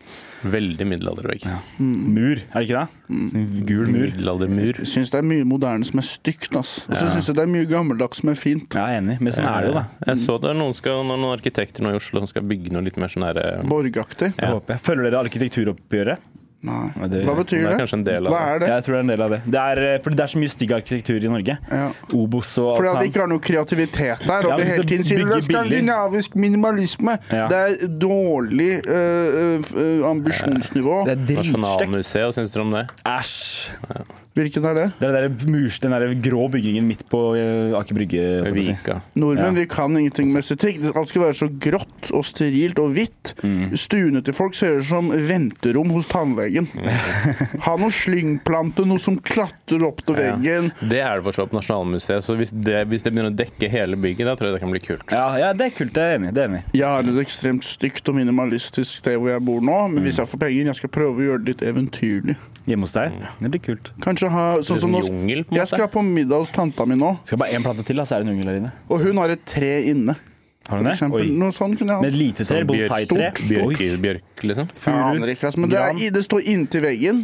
B: Veldig middelaldervegg.
C: Mur, er det ikke det? En Gul mur.
B: Middelaldermur.
A: Jeg syns det er mye moderne som er stygt, ass. Og så syns jeg det er mye gammeldags som er fint.
C: Ja, jeg er enig, men sånn er det jo, da.
B: Jeg så det er noen, skal, noen arkitekter nå i Oslo som skal bygge noe litt mer sånn herre
A: Borgaktig.
C: Det håper jeg. Følger dere arkitekturoppgjøret?
A: Nei.
C: Ja, det-
A: Hva
B: Det
A: betyr
B: er
A: det?
B: kanskje en del av
A: Hva er det?
C: Jeg tror det er en del av det. Det er, eh, fordi det er så mye stygg arkitektur i Norge.
A: Ja.
C: Obos og
A: Fordi
C: alt
A: at de
C: annet.
A: ikke har noe kreativitet der. Og de
C: Ja, men
A: hele
C: så
A: tiden sier det
C: bygge
A: er skandinavisk minimalisme.
C: Ja.
A: Det er dårlig øh, øh, ambisjonsnivå.
C: Det er dritstygt.
B: Nasjonalmuseet, hva syns dere om det?
C: Æsj.
A: Hvilken er det?
C: Det er den der murs, den der grå bygningen midt på eh, Aker Brygge. holdt jeg på å si.
B: Vika.
A: Nordmenn
C: Ja.
A: vi kan ingenting med estetikk. Det- Alt skal være så grått og sterilt og hvitt.
C: Mm.
A: Stuene til folk ser ut som venterom hos tannlegen.
C: Mm.
A: ha noe slyngplante, noe som klatrer opp til
B: Ja.
A: veggen.
B: Det er det fortsatt på Nasjonalmuseet, så hvis det, hvis det begynner å dekke hele bygget, da tror jeg det kan bli kult.
C: Ja, ja, det er kult. Det er jeg enig i. Det er jeg enig. i.
A: Jeg har et ekstremt stygt og minimalistisk sted hvor jeg bor nå,
C: Mm.
A: men hvis jeg får penger, jeg skal prøve å gjøre det litt eventyrlig.
C: Hjemme hos deg. Det blir kult.
A: Kanskje ha sånn som
B: Sånn
A: nå
B: jungel, på en
A: Jeg
B: måte.
A: skal på middag hos tanta mi nå,
C: Skal bare én plante til, da, så er det en unge der inne.
A: og hun har et tre inne. For
C: Har du det?
A: eksempel.
C: Oi.
A: Noe sånn kunne jeg hatt.
C: Med et lite tre?
B: Sånn bjørk-
C: Bonsai-tre?
B: Bjørk,
C: Oi.
B: bjørk, liksom.
A: Jeg aner ikke, altså, men det, er,
C: Gran.
A: i- det står inntil veggen.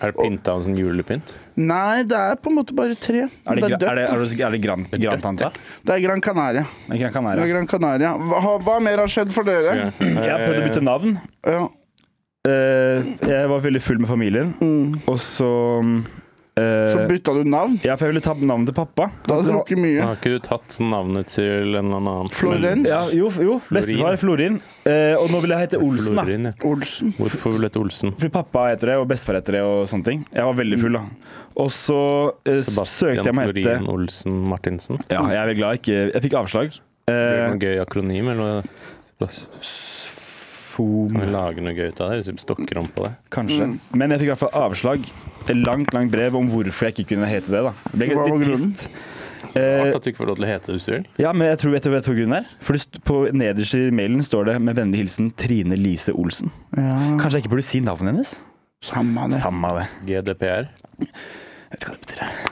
B: Er det pynta en sånn julepynt?
A: Nei, det er på en måte bare tre.
C: Er det,
A: det er dødt.
C: gra- er det, er det, er det gran, grantanta?
A: Det er Gran Canaria.
C: Det er Gran
A: Det
C: Canaria.
A: er Gran Canaria. Hva, har- hva mer har skjedd for dere?
C: Jeg har prøvd å bytte navn.
A: Ja.
C: Eh, jeg var veldig full med familien, og så eh,
A: Mm. Så bytta du navn.
C: Ja, for jeg ville ta navnet til pappa.
A: Da har du drukket mye.
B: Har ikke du tatt sånn navnet til en eller annen?
A: Florens
C: Ja, jo, jo. Bestefar Florin. Eh, og nå vil jeg hete Olsen, da.
B: Florin, ja.
A: Olsen.
B: Hvorfor vil du hete Olsen?
C: Fordi pappa heter det, og bestefar heter det, og sånne ting. Jeg var veldig full, da. Og så eh, s- søkte jeg
B: Sebastian
C: meg hete
B: Florin Olsen Martinsen.
C: Ja, jeg er veldig glad jeg ikke Jeg fikk avslag.
B: Det er
C: Eh,
B: noe gøy akronym, eller hva? Kan
C: Fom,
B: vi lage noe gøy ut av det? Hvis vi stokker om på det.
C: kanskje. Men jeg fikk i hvert fall avslag. Et langt, langt brev om hvorfor jeg ikke kunne hete det, da. Jeg ble
A: Hva var
C: litt
A: grunnen?
C: trist.
B: Rart
C: Eh,
B: at du ikke får lov til å hete det hvis du vil.
C: ja, men jeg tror, vet du vet du hva grunnen er? For det st- på nederst i mailen står det med vennlig hilsen Trine Lise Olsen.
A: Ja,
C: Kanskje jeg ikke burde si navnet hennes?
A: samme det.
C: Samme det.
B: GDPR.
C: Jeg vet ikke hva det betyr. jeg.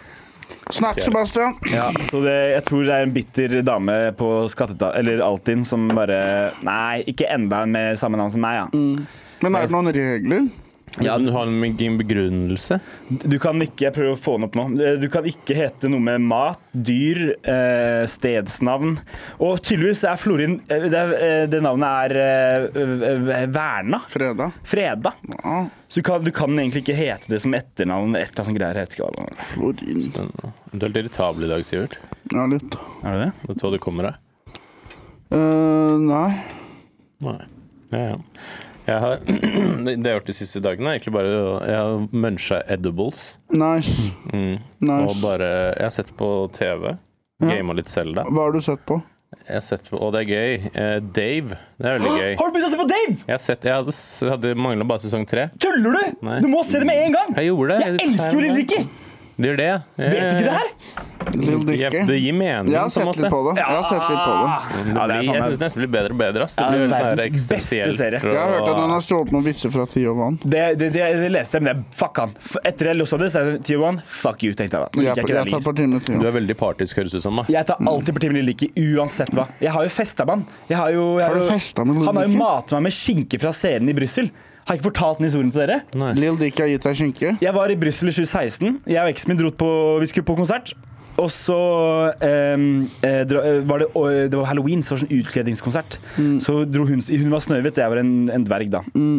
A: Snakk, Sebastian.
C: Ja, så det, jeg tror det er en bitter dame på skatteta... Eller Altinn som bare Nei, ikke enda en med samme navn som meg, ja.
A: Men er det noen regler?
B: Ja, du har en en begrunnelse.
C: Du kan ikke Jeg prøver å få den opp nå. Du kan ikke hete noe med mat, dyr, eh, stedsnavn. Og tydeligvis er Florin eh, Det, er, eh, det navnet er eh, eh, Verna.
A: Fredag.
C: Freda.
A: Ja,
C: Så du kan, du kan egentlig ikke hete det som etternavn. Et eller annet sånt greier. Jeg vet ikke hva det er.
A: Florin.
B: Du er litt irritabel i dag, Sivert.
A: Ja, litt.
C: Er du det?
B: Vet du hva det kommer av?
A: Eh, nei.
B: Nei. Ja, ja. Jeg har, det jeg har gjort de siste dagene, er egentlig bare å- Jeg har muncha edibles.
A: Nice.
C: Mm.
B: Og
A: nice.
B: bare Jeg har sett på TV. Gama litt Selda.
A: Hva har du sett på?
B: Jeg har sett på, og det er gøy. Eh, Dave. Det er veldig gøy.
C: Har du begynt å se på Dave?
B: Jeg, har sett, jeg hadde, s- hadde mangla bare sesong tre.
C: Tuller du?
B: Nei.
C: Du må se det med en gang!
B: Jeg gjorde det.
C: Jeg elsker jo Lille Ricky!
B: Det gjør det. Jeg,
C: Vet du ikke det her?
A: Lill
B: Jeg,
A: Dicky?
B: det gir mening,
A: Jeg har
B: på en
A: sett
B: måte.
A: litt på det. Jeg har sett litt på det.
B: Det
C: Ja, det er
B: blir, jeg
C: faen meg-
B: syns det nesten blir bedre og bedre. Ass. Det
C: Ja,
B: blir
C: verdens
B: sånn her
C: beste
B: eksistensielt
C: serie.
B: og-
A: Jeg har hørt at han har stjålet noen vitser fra Theo Van.
C: Det, det, det, det leste jeg, men det, fuck han. F- Etter jeg losa det, sa jeg til Johan fuck you, tenkte jeg da. Nå
A: Jeg
C: liker Jeg, ikke
A: jeg
C: det
A: tar
C: lenger.
A: parti med
B: Du
A: Theo.
B: er veldig partisk, høres det ut som. Da.
C: jeg tar alltid parti med Lille Ricky, uansett hva. Jeg har jo festa med han. Jeg har jo, jeg
A: Har du
C: jo-
A: festet med Lille
C: Han har jo
A: Ricky?
C: matet meg med skinke fra scenen i Brussel. Har jeg ikke fortalt den historien til dere?
A: Lill Dicky har gitt deg skinke?
C: Jeg var i Brussel i 2016. Jeg og eksen min dro på, vi skulle på konsert. Og så ehm, eh, dra, eh, var det, å- det var halloween, så det var sånn utkledningskonsert. Så dro hun, hun var Snøhvit, og jeg var en, en dverg, da.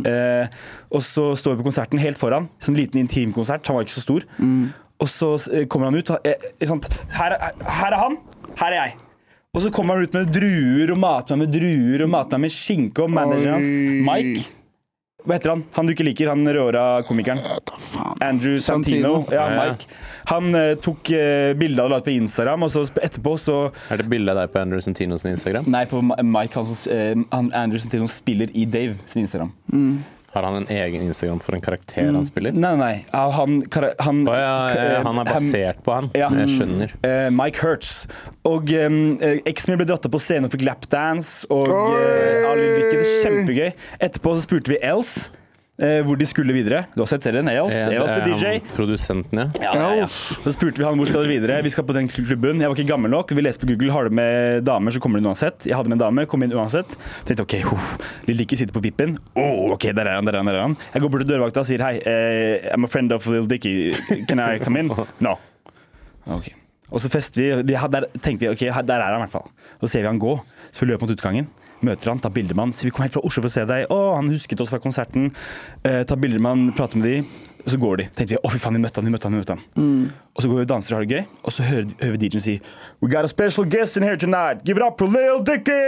C: Eh, og så står vi på konserten helt foran. Sånn liten intimkonsert. Han var ikke så stor. Og så eh, kommer han ut. han- eh, eh, sant? Her, er- her er han, her er jeg. Og så kommer han ut med druer og mater meg med druer og mater meg med skinke. Og manageren hans,
A: Oi.
C: Mike Hva heter han? Han du ikke liker, han råra komikeren. Andrew Santino.
A: Santino.
C: Ja,
B: Ja, ja.
C: Mike. Han eh, tok uh, bilde av det la ut på Instagram, og så sp- etterpå så
B: Er det bilde av deg på Andrew Santino sin Instagram?
C: Nei, på Ma- Mike, han, som s- eh, han Andrew Santino spiller i Dave sin Instagram.
B: Har han en egen Instagram for en karakter
C: Mm.
B: han spiller?
C: Nei, nei, nei. Ah, Han, kara- han,
B: Å ja,
C: eh,
B: eh, han er basert på han.
C: Ja.
B: Jeg skjønner.
C: eh, Mike Hertz. Og eh, eh, eksen min ble dratt opp på scenen og fikk lapdance. Og
A: Oi!
C: eh, all lykke, det var kjempegøy. Etterpå så spurte vi Els eh, hvor de skulle videre. Du har sett serien? Els,
B: Eh,
C: Els
B: det
C: og
B: er
C: DJ.
B: han Produsenten, ja.
C: Ja, ja, ja.
A: Uff.
C: Så spurte vi han hvor skal dere videre. Vi skal på den klubben. Jeg var ikke gammel nok. Vi leste på Google har du med damer, så kommer du inn uansett. Jeg hadde med en dame, kom inn uansett. Tenkte OK, huh, Lille Dicky sitter på vippen. Oh, OK, der er han, der er han. der er han. Jeg går bort til dørvakta og sier hei, eh, I'm a friend of Little Dicky. Can I come in? No. Ok. Og så fester vi, vi der tenkte vi, ok, her- der er han i hvert fall. Så ser vi han gå, så vi løper mot utgangen. Møter han, tar bilder med han. sier vi kom helt fra Oslo for å se deg. Å, han husket oss fra konserten. Eh, tar bilder med han, prater med de. Så går de. Tenkte vi, å fy faen, vi møtte han, vi møtte han, vi møtte han.
B: Mm.
C: Og så går vi og danser og har det gøy. Og så hører, hører vi DJ-en si We got a special guest in here tonight. Give it up for Lil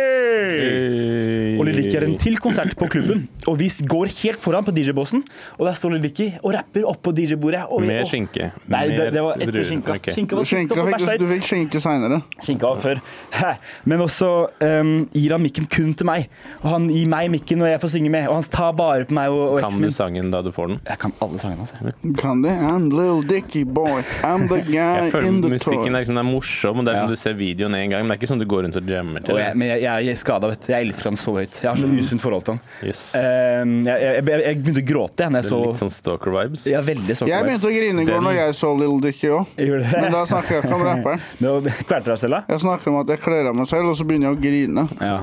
C: Dicky! Og Liliki er en til konsert på klubben. Og vi går helt foran på DJ-båsen, og der står Liliki og rapper oppå DJ-bordet. og vi-
B: Med
C: og-
B: skinke.
C: Nei, det,
B: Med
C: det var etter
B: druer.
C: skinka.
B: Ok.
C: Skinka var sist,
A: Skinka
C: og
A: fikk,
C: bæsja
A: du
C: ut.
A: fikk skinke seinere.
C: Skinka var før. Hæ. Men også ehm, gir han mikken kun til meg. Og han gir meg mikken, og jeg får synge med. Og han tar bare på meg og, og
B: Kan
C: eksen
B: du
C: min.
B: sangen da du får den?
C: Jeg kan alle sangene hans. jeg.
A: Kan det? I'm little Dicky boy. I'm the guy
B: Jeg føler
A: in the toy.
B: Musikken er, liksom, den er morsom, og det er
C: Ja.
B: sånn du ser videoen en gang. Men det er ikke sånn du går rundt og jammer til
C: Og
B: det. Mm.
C: jeg, men jeg, jeg er skada, vet du. Jeg elsker han så høyt. Jeg har så usunt forhold til han.
B: Yes.
C: Ehm, jeg, jeg, jeg, jeg begynte å gråte jeg, når jeg
B: Det er litt
C: så
B: sånn stalker-vibes.
C: Jeg er veldig svak.
A: Jeg
C: for meg.
A: begynte å grine i går
B: Den-
A: når jeg så Little Dicky òg.
C: Jeg gjorde
A: Men da
C: det.
A: snakker jeg ikke om rapperen.
C: Nå kvelte du deg selv, da?
A: Jeg snakker om at jeg kler av meg selv, og så begynner jeg å grine.
C: Ja.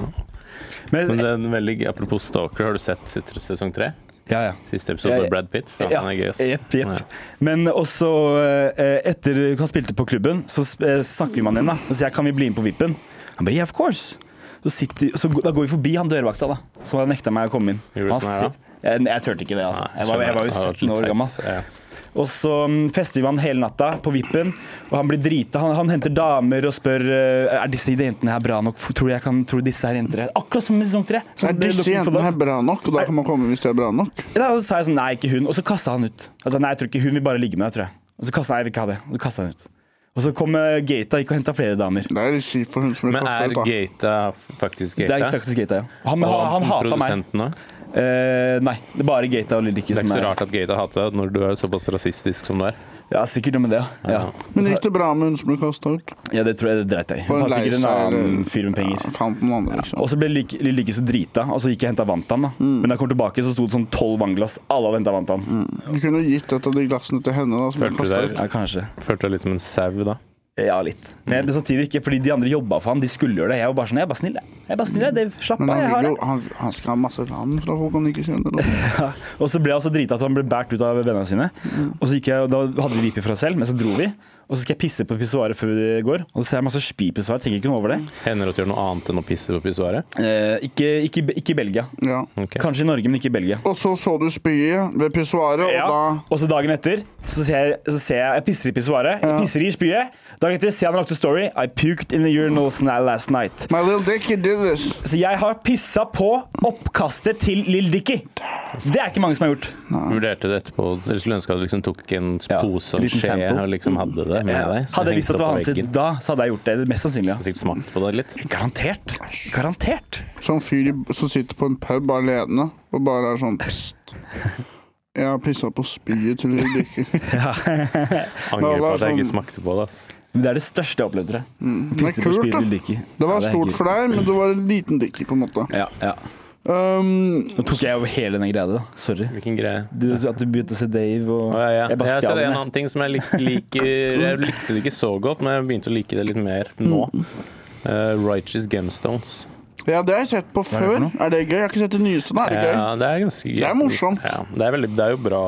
C: Men,
B: Men det er en veldig, apropos stalker, har du sett sitt- sesong tre?
C: ja, ja.
B: Siste episode
C: Jeg-
B: med Brad Pitt? Ja,
C: Ja,
B: han er gøy, ass.
C: Jepp,
B: Ja.
C: jepp. Men også eh, etter han spilte på klubben, så sp- eh, snakker vi med han igjen. da. Og sier jeg, kan vi bli med på vippen? Han bare yeah, of course. Så, sitter, så g- da går vi forbi han dørvakta, da. Som hadde nekta meg å komme inn.
B: Gjorde du
C: Han
B: sånn her,
C: sier-
B: da?
C: Jeg, jeg turte ikke det, altså.
B: Nei,
C: jeg, var, jeg var jo
B: skjønner. Det
C: 17
B: litt
C: år
B: teit.
C: gammel.
B: Ja.
C: Og så mm, fester vi med han hele natta på vippen, og han blir drita. Han, han henter damer og spør eh, Er disse jentene her bra nok. Tror du jeg kan, tror du disse her jentene er-" Akkurat som i sesong tre. Som
A: Er
C: det
A: disse
C: Looking for
A: jentene
C: Love.
A: her bra nok? Og da kan man komme hvis de er bra nok.
C: Ja, og så sa jeg sånn, nei, ikke hun. Og så kasta han ut. Altså, nei, jeg tror ikke hun vil bare ligge med deg, tror jeg. Og så kasta jeg, jeg vil ikke ha det. Og så kastet han ut. Og så kom eh, Gata, gikk og henta flere damer.
A: Det er litt kjipt for hun som blir
B: Men er
A: kastet ut.
B: Gata faktisk
C: Det er
B: Gata?
C: faktisk Gata, ja. Og Han, han, han hata meg.
B: produsenten også?
C: Eh, nei, det er bare Gata og Lille Dicky
B: Det er
C: som
B: ikke så
C: er
B: rart at Gata hater deg når du er såpass rasistisk som du er.
C: Ja, sikkert noe med det, ja. ja.
A: da. Men gikk det bra med hun som ble kasta ut?
C: Ja, det tror jeg det dreit jeg i.
A: Var hun
C: Han tar sikkert
A: lei
C: en
A: seg,
C: annen
A: eller?
C: fyr med penger.
A: Ja, fant noen andre, liksom.
C: Og så ble Lille Lille Dicky så drita, og så gikk jeg og henta vann til han. da.
A: Mm.
C: Men da jeg kom tilbake, så sto det sånn tolv vannglass. Alle hadde henta vann til han.
A: Du kunne gitt et av de glassene til henne. da, som ble
B: Følte du
A: kastet
B: deg,
A: ut.
C: Ja, kanskje.
B: følte deg litt som en sau da?
C: Ja, litt. Men men samtidig ikke, fordi de andre jobba for han. De skulle gjøre det. Jeg var bare sånn, jeg er bare snill, jeg. Jeg er bare snill, jeg. Dave. Slapp
A: Men
C: av, jeg
A: han,
C: har
A: vil
C: det.
A: jo, han, han skal ha masse vann fra folk han ikke kjenner. og sånn.
C: Ja. altså Og så ble han så drita at han ble båret ut av vennene sine. Og så gikk jeg, og da hadde vi vipet for oss selv, men så dro vi. Og så skal jeg pisse på pissoaret før vi går, og så ser jeg masse spypissoar. Tenker ikke noe over det.
B: Hender det at du gjør noe annet enn å pisse på pissoaret?
C: Eh, ikke, ikke, ikke i Belgia.
A: Ja.
B: Ok.
C: Kanskje i Norge, men ikke i Belgia.
A: Og så så du spyet ved pissoaret,
C: Ja.
A: og da
C: Og så dagen etter så ser jeg, så ser jeg, jeg pisser i pissoaret. Jeg pisser i spyet. Dagen etter ser jeg han har lagt ut story. I puked in the urinal sna- last night.
A: My little dick, he did this.
C: Så jeg har pissa på oppkastet til Lill Dicky. Det er ikke mange som har gjort.
B: Vurderte det etterpå. Jeg skulle ønske at du liksom tok en
C: Ja,
B: pose og en
C: liten
B: skje
C: sample.
B: og liksom hadde det med deg. så
C: Hadde jeg visst
B: hengte
C: at det var
B: opp
C: han
B: på
C: sitt
B: veggen.
C: da, så hadde jeg gjort det. Mest sannsynlig. ja.
B: Sikkert smakt på det litt.
C: Garantert. Garantert.
A: Sånn fyr i- som sitter på en pub alene og bare er sånn Pst. Jeg har pissa på spyet til Lill Dicky.
B: Angrer
A: det
B: på
A: var
B: at jeg ikke
A: sånn-
B: smakte på det. ass.
C: Men Det er det største jeg har opplevd, tror jeg.
A: Det
C: Pisse
A: er Mm.
C: på
A: kult,
C: spyet Lill
A: da.
C: Dicky.
A: Det
C: Ja,
A: var
C: er
A: stort
C: kult.
A: for deg, men det var en liten dicky, på en måte.
C: Ja, ja.
A: Um,
C: Nå tok jeg over hele den greia di, da. Sorry.
B: Hvilken greie.
C: Du, at du begynte å se Dave og
B: Å, ja, ja. Jeg,
C: bare
B: har
C: stjal
B: sett
C: den,
B: en
C: jeg.
B: annen ting som jeg lik, liker Jeg likte det ikke så godt, men jeg begynte å like det litt mer nå.
C: Mm.
B: Eh, Righteous Gemstones.
A: ja, det har jeg sett på
C: er det for
A: før.
C: noe?
A: Er det gøy? Jeg har ikke sett det nyeste. Da. Er det gøy?
B: Ja, det er ganske gøy.
A: Det er morsomt.
B: Ja, det, er veldig, det er jo bra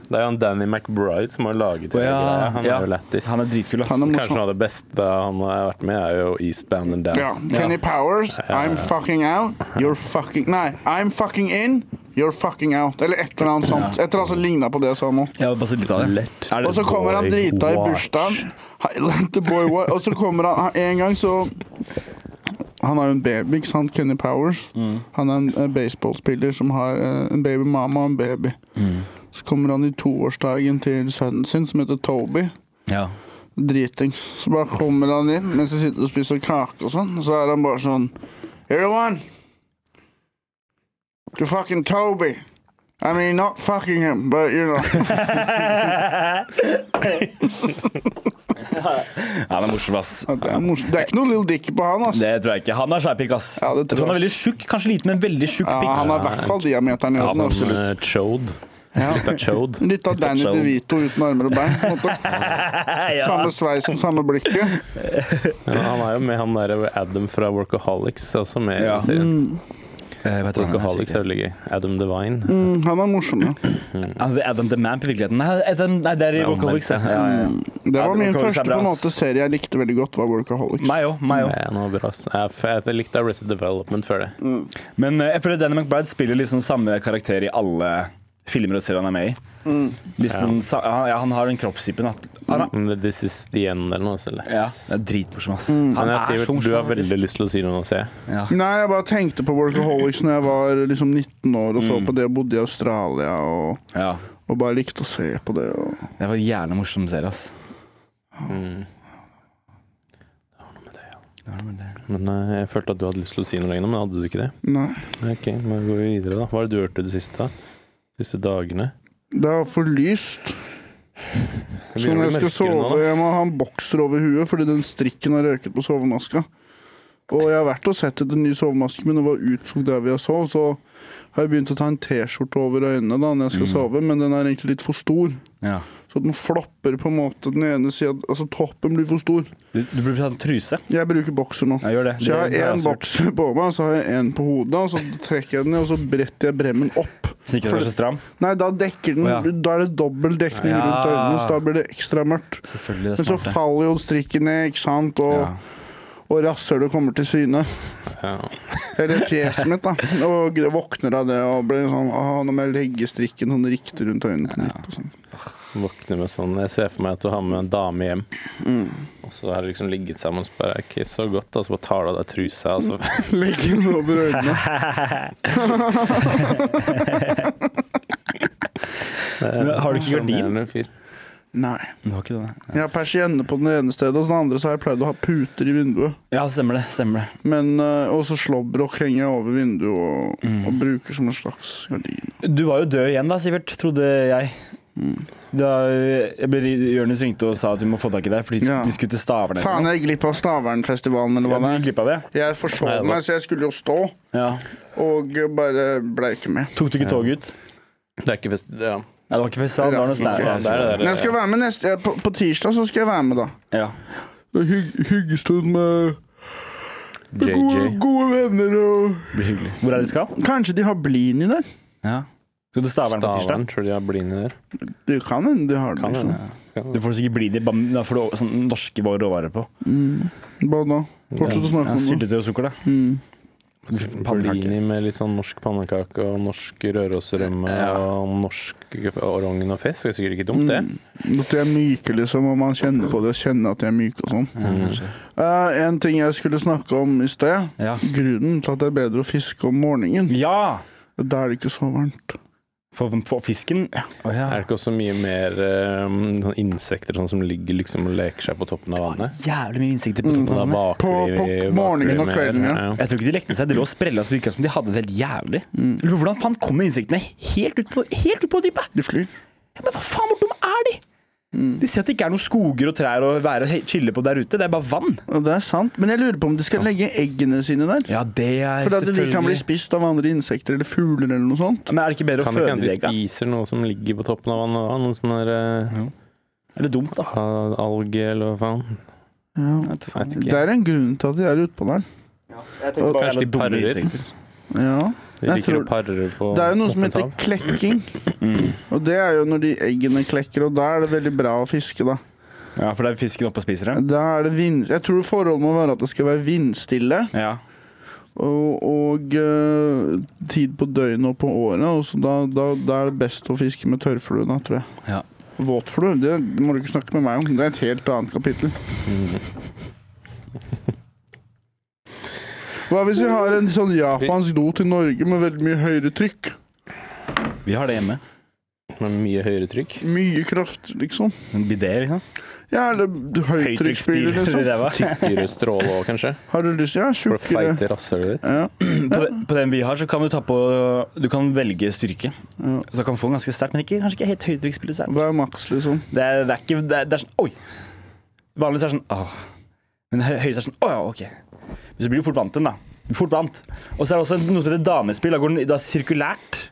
B: Det er jo han Danny McBride som har laget
C: Å,
B: hele
C: ja.
B: greia. Han
C: Ja.
B: er jo lættis.
C: Han er dritkul, ass.
A: Han er
B: Kanskje
A: morsom.
B: noe av det beste han har vært med, er jo Eastbound and Down.
A: Ja. Kenny Powers, I'm fucking out, you're fucking Nei, I'm fucking in, you're fucking out. Eller et eller annet sånt. Et eller annet som ligna på det jeg sa nå.
C: Jeg har bare sett litt av det.
B: Let
C: Er det
A: Og så kommer han drita i bursdagen. Hi- let the boy wa- Og så kommer han han- En gang så Han er jo en baby, ikke sant? Kenny Powers. Han er en eh, baseballspiller som har eh, en babymamma og en baby. Så kommer han i toårsdagen til sønnen sin, som heter Toby.
C: Ja.
A: Dritings. Så bare kommer han inn mens jeg sitter og spiser kake og sånn, og så er han bare sånn Everyone! To fucking Toby! I mean, not fucking him, but you know.
C: han er morsom, ass.
A: Det er, morsomt. det er ikke noe Lill Dicky på han, ass.
C: Det tror jeg ikke. Han har skjærpikk, ass.
A: Ja, det tror
C: jeg tror han
A: jeg,
C: er veldig tjukk. Kanskje liten, men veldig tjukk
A: Ja,
C: pikk.
A: han har i hvert fall diameteren i
C: Ja,
A: orden,
C: men-
A: absolutt.
B: Eh, Chode.
A: Ja.
B: Litt av Chode.
A: Litt av Danny
C: Chode.
A: DeVito uten armer og bein. på en måte.
C: ja.
A: Samme sveisen, samme blikket.
B: Ja, han er jo med han der Adam fra Workaholics, også med i
C: Ja.
B: serien.
C: Eh, hva heter han?
B: Workaholics er veldig gøy. Adam Devine.
A: Mm, Han er morsom, ja.
C: Han heter Adam the Mamp i virkeligheten. Nei, Adam, nei det er i
B: Ja,
C: Workaholics.
B: men-
C: Ja, ja, ja.
A: Det
C: Ja,
A: var min
C: Workaholics er
A: første
C: bra,
A: på en
C: ass.
A: måte serie jeg likte veldig godt, var Workaholics.
C: Meg òg. Meg òg.
B: Ja, han var bra. ass. Jeg, f- jeg likte Arrested Development før det.
C: Men eh, jeg føler Danny McBride spiller liksom samme karakter i alle filmer og serier han er med i.
A: Mm.
C: Liksom, sa- han, ja, han har den kroppstypen. At, han, er-
B: Men This is the end eller noe sånt.
C: ja, det er dritmorsom, ass.
A: Mm.
B: Men
C: Han
B: jeg,
C: er
B: Sivert,
C: så
B: du har
C: morsom.
B: veldig lyst til å si noe nå, ser jeg.
C: Ja.
A: Nei, jeg bare tenkte på Workaholics når jeg var liksom 19 år og så
B: Mm.
A: på det og bodde i Australia og,
C: ja.
A: og bare likte å se på det. Og...
C: Det var en jævla morsom serie, ass. Mm.
B: Mm. Men eh, jeg følte at du hadde lyst til å si noe lignende, men hadde du ikke det?
A: Nei.
B: Ok, men går vi videre da. Hva har du gjort i det siste? da? Siste dagene?
A: Det er for lyst.
B: Det
A: Så når jeg skal
B: begynner å bli mørkere
A: sove,
B: nå, da.
A: jeg må ha en bokser over huet fordi den strikken har røket på sovemaska. Og jeg har vært og sett etter en ny sovemaske, men den var utsugd der vi har sov, så har jeg begynt å ta en T-skjorte over øynene da når jeg
B: Mm.
A: skal sove, men den er egentlig litt for stor.
C: Ja.
A: Så den flopper på en måte den ene sida Altså toppen blir for stor.
C: Du, du burde ta en truse.
A: Jeg bruker bokser nå.
C: Ja, gjør det.
A: Så jeg
C: Det har jeg
A: har én
C: også gjort.
A: bokser på meg, og så har jeg én på hodet, og så trekker jeg den ned, og så bretter jeg bremmen opp.
C: Så ikke den er så stram.
A: Nei, da dekker den
C: Å, ja.
A: Da er det dobbel dekning
C: Ja.
A: rundt øynene, så da blir det ekstra mørkt.
C: Selvfølgelig, det
A: Men så faller jo strikken ned, ikke sant, og,
C: Ja.
A: og rasshølet kommer til syne.
B: Ja.
A: Eller fjeset mitt, da. Og jeg våkner av det og blir sånn Å, nå må jeg legge strikken sånn riktig rundt øynene på nytt. Og sånn.
B: Våkne med sånn Jeg ser for meg at du har med en dame hjem,
A: Mm.
B: og så har det liksom ligget sammen og så bare OK, så godt, og så bare tar du av deg trusa, og
A: Mm.
B: så
A: Legge den over øynene.
C: Men Har du ikke gardin?
B: Sjarmerende sånn fyr.
A: Nei.
C: Du har ikke det, nei.
A: Jeg har persienne på den ene stedet, og så det andre så har jeg pleid å ha puter i vinduet.
C: Ja, stemmer det. stemmer det.
A: Men, eh, Og så slåbrok henger jeg over vinduet og,
C: Mm.
A: og bruker som en slags gardin.
C: Du var jo død igjen da, Sivert, trodde jeg.
A: Mm.
C: Da eh, jeg ble, Jørnes ringte og sa at vi må få tak i deg fordi
A: Ja.
C: du skulle til Stavern. eller
A: Faen,
C: noe.
A: jeg gikk glipp av Stavernfestivalen, eller
C: Ja,
A: hva
C: du
A: det
C: gikk
A: er.
C: glipp av det?
A: Jeg forsov meg, så jeg skulle jo stå,
C: Ja.
A: og eh, bare ble ikke med.
C: Tok du ikke toget ut?
B: Det er ikke fest... Ja.
C: Nei, det var ikke festival. Det var noe
A: Rakk
C: snær.
A: ikke.
C: Ja,
B: Der, der,
A: Men jeg skal være med neste eh, på, på tirsdag så skal jeg være med, da.
C: Ja.
A: Hygg, hyggestund med
B: JJ.
A: gode venner og
C: Det blir hyggelig. Hvor er det du skal?
A: Kanskje de har Blini der?
C: Ja. Skal du Stavern på
B: Stavern,
C: tirsdag?
B: tror du de har blinde der?
A: Det kan hende de har den,
B: Kan
A: liksom.
B: hende. Kan
C: Du
B: hende.
C: får sikkert bli det, bare- da får du sånn norske råvarer på.
A: Bare Mm. da. Fortsett å
C: Ja,
A: snakke om det. Mm.
C: Syltetøy og sukker, da.
B: Blini med litt sånn norsk pannekake og norsk rørosrømme
C: Ja.
B: og norsk orogn og fisk. Det er sikkert ikke
A: Mm.
B: dumt, det.
A: At de er myke, liksom, og man kjenner på det. Kjenner at de er myke og sånn. Eh, en ting jeg skulle snakke om i sted.
C: Ja.
A: Grunnen til at det er bedre å fiske om morgenen,
C: Ja!
A: da er det ikke så varmt.
C: For, for fisken Å, ja.
B: Er det ikke også mye mer eh, sånn insekter sånn som ligger liksom og leker seg på toppen av vannet?
C: Jævlig mye insekter på toppen
B: Og da
C: av
B: vaker
C: vannet.
A: På-
B: de-
A: på
B: vaker de
A: morgenen og
B: mer.
A: kvelden, ja.
C: Jeg tror ikke de lekte seg. De lå og sprella så mye som de hadde det helt jævlig. Lurer på Hvordan faen kommer insektene helt ut på, helt ut på dypet?
A: De flyr.
C: Ja, Men hva faen, hvor dumme er de? De ser at det ikke er noen skoger og trær å være og he- chille på der ute. Det er bare vann.
A: Og det er sant, men jeg lurer på om de skal legge eggene sine der.
C: Ja, det er
A: For at de kan bli spist av andre insekter eller fugler eller noe sånt.
C: Men er det ikke bedre å
B: Kan det ikke
C: føde
B: hende
C: de
B: de
C: egga?
B: spiser noe som ligger på toppen av vannet? da? Noe sånn der eh,
C: Er det dumt, da?
B: al- alge eller hva faen?
A: Ja.
B: Jeg vet
A: Det
B: ikke.
A: er en grunn til at de er utpå der.
C: Og
B: bare-
C: kanskje de
B: dumme
C: parer.
B: insekter.
A: Ja.
B: De
A: Jeg
B: liker
A: tror-
B: å pare på
A: Det er jo noe som
B: åpent
A: heter
B: hav.
A: klekking. Og det er jo når de eggene klekker, og da er det veldig bra å fiske, da.
C: Ja, for det er fisken oppe og spiser dem?
A: Da er det vind... Jeg tror forholdet må være at det skal være vindstille,
C: Ja.
A: og, og eh, tid på døgnet og på året. Og så da, da, da er det best å fiske med tørrflue, da, tror jeg.
C: Ja.
A: Våtflue, det må du ikke snakke med meg om. Det er et helt annet kapittel. Hva hvis vi har en sånn japansk do til Norge med veldig mye høyere trykk?
C: Vi har det hjemme.
B: Med mye høyere trykk.
A: Mye kraft, liksom.
C: En bidé, liksom.
A: Ja, eller høytrykksspyler,
C: i
A: liksom.
C: ræva.
B: Dyre stråle òg, kanskje.
A: Har du lyst til Ja,
B: For å
A: tjukkere.
B: feite rasshølet ditt.
A: Ja.
C: På, de- på den vi har, så kan du ta på Du kan velge styrke. Så du kan få den ganske sterkt, men ikke, kanskje ikke helt høytrykksspiller. så er den-
A: Hva er maks, liksom?
C: Det er, det er ikke det er, det er sånn Oi! Vanligvis er det sånn Åh. Men hø- høyest er sånn Å ja, ok. Men så blir du fort vant til den, da. Du blir Fort vant. Og så er det også noe som heter damespill. Da går den da sirkulært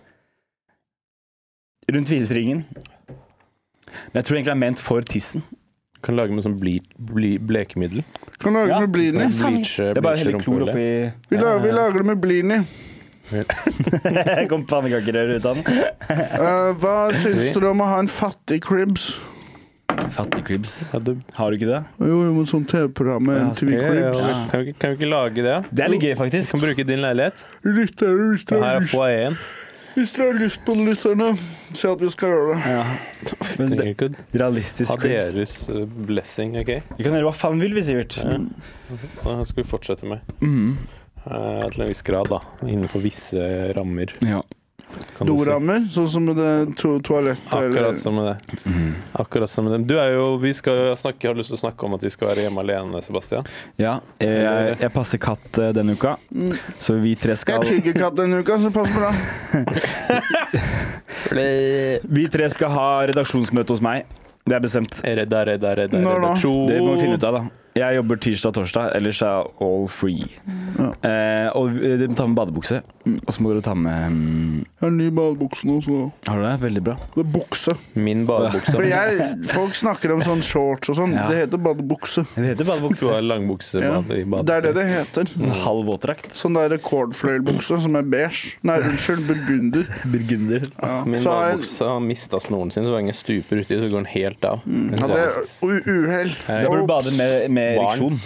C: rundt viseringen. Men jeg tror egentlig det er ment for tissen.
B: Kan lage med sånn bli, bli, blekemiddel.
A: Kan lage
C: Ja.
A: med blini.
B: Bleache,
C: Det er bare å helle klor
B: rumpehullet.
C: oppi
A: Vi lager, vi lager det med blini.
C: Jeg Kom pannekakerør ut av den.
A: Eh, hva syns dere om å ha en fattig cribs?
C: Fattigklubbs.
B: Ja, du,
C: Har du ikke det?
A: Jo, jo, men sånn TV-program med MTV
B: ja, ja,
A: Cribs.
B: ja. Kan, vi, ikke- kan vi ikke lage det?
C: Det er litt gøy,
B: Du
C: faktisk.
B: kan bruke din leilighet.
A: Lyttere, hvis
B: Det
A: dere
B: her
A: har
B: er
A: lyst-
B: foajeen.
A: hvis dere har lyst på det, lytterne, si at vi skal gjøre det.
C: Men
B: Trenger
C: det,
B: ikke å ha
C: realistisk klubbs.
B: deres eh, blessing, OK?
C: Vi kan gjøre hva faen vi vil, vi, Sivert.
B: Da skal vi fortsette med.
C: Mhm.
B: Eh, til en viss grad, da. Innenfor visse rammer.
C: Ja.
B: Kan du si.
A: Dorammer, sånn som med det to toalettet eller
B: Akkurat som med det.
C: Mhm.
B: Akkurat som med dem. Du er jo, vi skal jo snakke, har lyst til å snakke om at vi skal være hjemme alene, Sebastian.
C: Ja, jeg, jeg passer katt eh, denne uka, så vi tre
A: Jeg
C: skal
A: er tigerkatt denne uka, så pass bra.
C: Vi tre skal ha redaksjonsmøte hos meg. Det er bestemt.
B: Redd er redd er redd er
A: Når da?
B: redaksjon.
C: Det må vi finne ut av, da. Jeg jobber tirsdag og torsdag, ellers er jeg all free. Eh, og eh, dere må ta med badebukse. Og så må dere ta med mm,
A: Jeg har ny badebukse nå, så
C: Har dere det? Veldig bra.
A: Det er bukse.
B: Min badebukse.
A: For jeg, folk snakker om sånn shorts og sånn.
C: Ja.
A: Det heter badebukse.
C: Det heter
B: Du
C: badebukse.
B: har langbukse
A: Ja.
B: bad,
A: Det
B: i
A: er det
B: badet.
A: det heter.
C: En halv våtdrakt.
A: Sånn der rekordfløyelbukse som er beige. Nei, unnskyld, burgunder.
C: Burgunder.
A: Ja.
B: Min
A: Så har jeg-
B: badebukse har mista snoren sin, så hver gang jeg stuper uti, så går den helt av.
C: Mm.
B: Den
A: Ja,
B: ser
A: det er
B: helt s-
A: u- uhell.
C: Da bør du bade med, med
B: Barn.
C: ereksjon.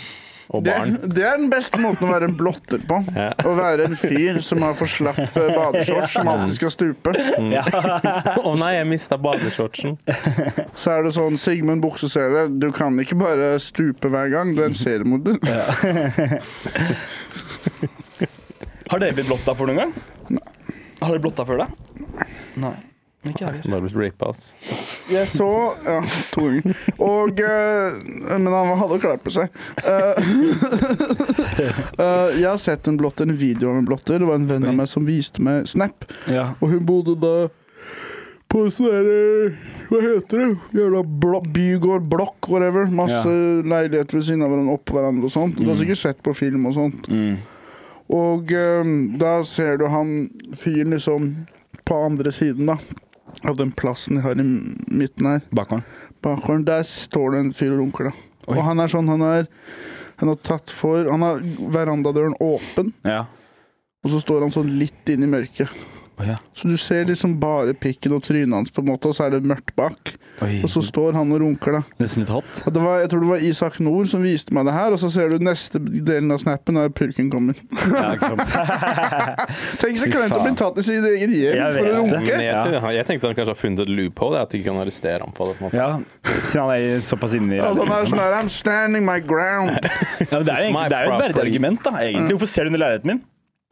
B: og
A: Det,
B: barn.
A: det er den beste måten å være en blotter på.
B: Ja.
A: Å være en fyr som har for slapp eh, badeshorts, som alltid skal stupe.
B: Å nei, jeg mista badeshortsen.
A: Så er det sånn Sigmund bukseserie, du kan ikke bare stupe hver gang. Du er en seriemorder.
C: Har dere blitt blotta for noen gang? Har dere blotta før, da? Nei. Ikke jeg heller.
B: Bare blitt rapa, ass.
A: Jeg så Ja, to ganger. Og eh, Men han hadde klart på seg. Eh, eh, jeg har sett en blotter, en video av en blotter. Det var en venn av meg som viste meg Snap.
C: Ja.
A: Og hun bodde da på sånn derre Hva heter det? Jævla blo bygård, blokk, whatever. Masse leiligheter ved siden av hverandre, oppå hverandre og sånt. Du har sikkert sett på film og sånt.
C: Mm.
A: Og eh, da ser du han fyren liksom på andre siden, da. Av den plassen jeg har i midten her.
C: Bakgården.
A: Bakgården, der står det en fyr og runker, da.
C: Oi.
A: Og han er sånn, han er Han har tatt for Han har verandadøren åpen,
C: Ja.
A: og så står han sånn litt inn i mørket.
C: ja.
A: Så du ser liksom bare pikken og trynet hans, på en måte, og så er det mørkt bak.
C: Oi.
A: Og så står han og runker, da.
C: Nesten litt hot.
A: Og det var, jeg tror det var Isak Nord som viste meg det her, og så ser du neste delen av snappen når purken kommer.
C: Ja, ikke sant?
A: Tenk så kleint å bli
C: faen.
A: tatt i sitt eget hjem
C: Jeg
A: for å
C: vet det.
A: runke.
B: Men jeg,
C: Ja.
B: tenkte- jeg tenkte han kanskje har funnet et loophole, at de ikke kan arrestere ham på det. på en måte.
C: ja. Siden han er såpass inni
A: Ja,
C: ja,
A: den er sånn her, I'm standing my ground.
C: men Det er jo egentlig- det er jo et verdig argument, da. egentlig. Hvorfor ser du under leiligheten min?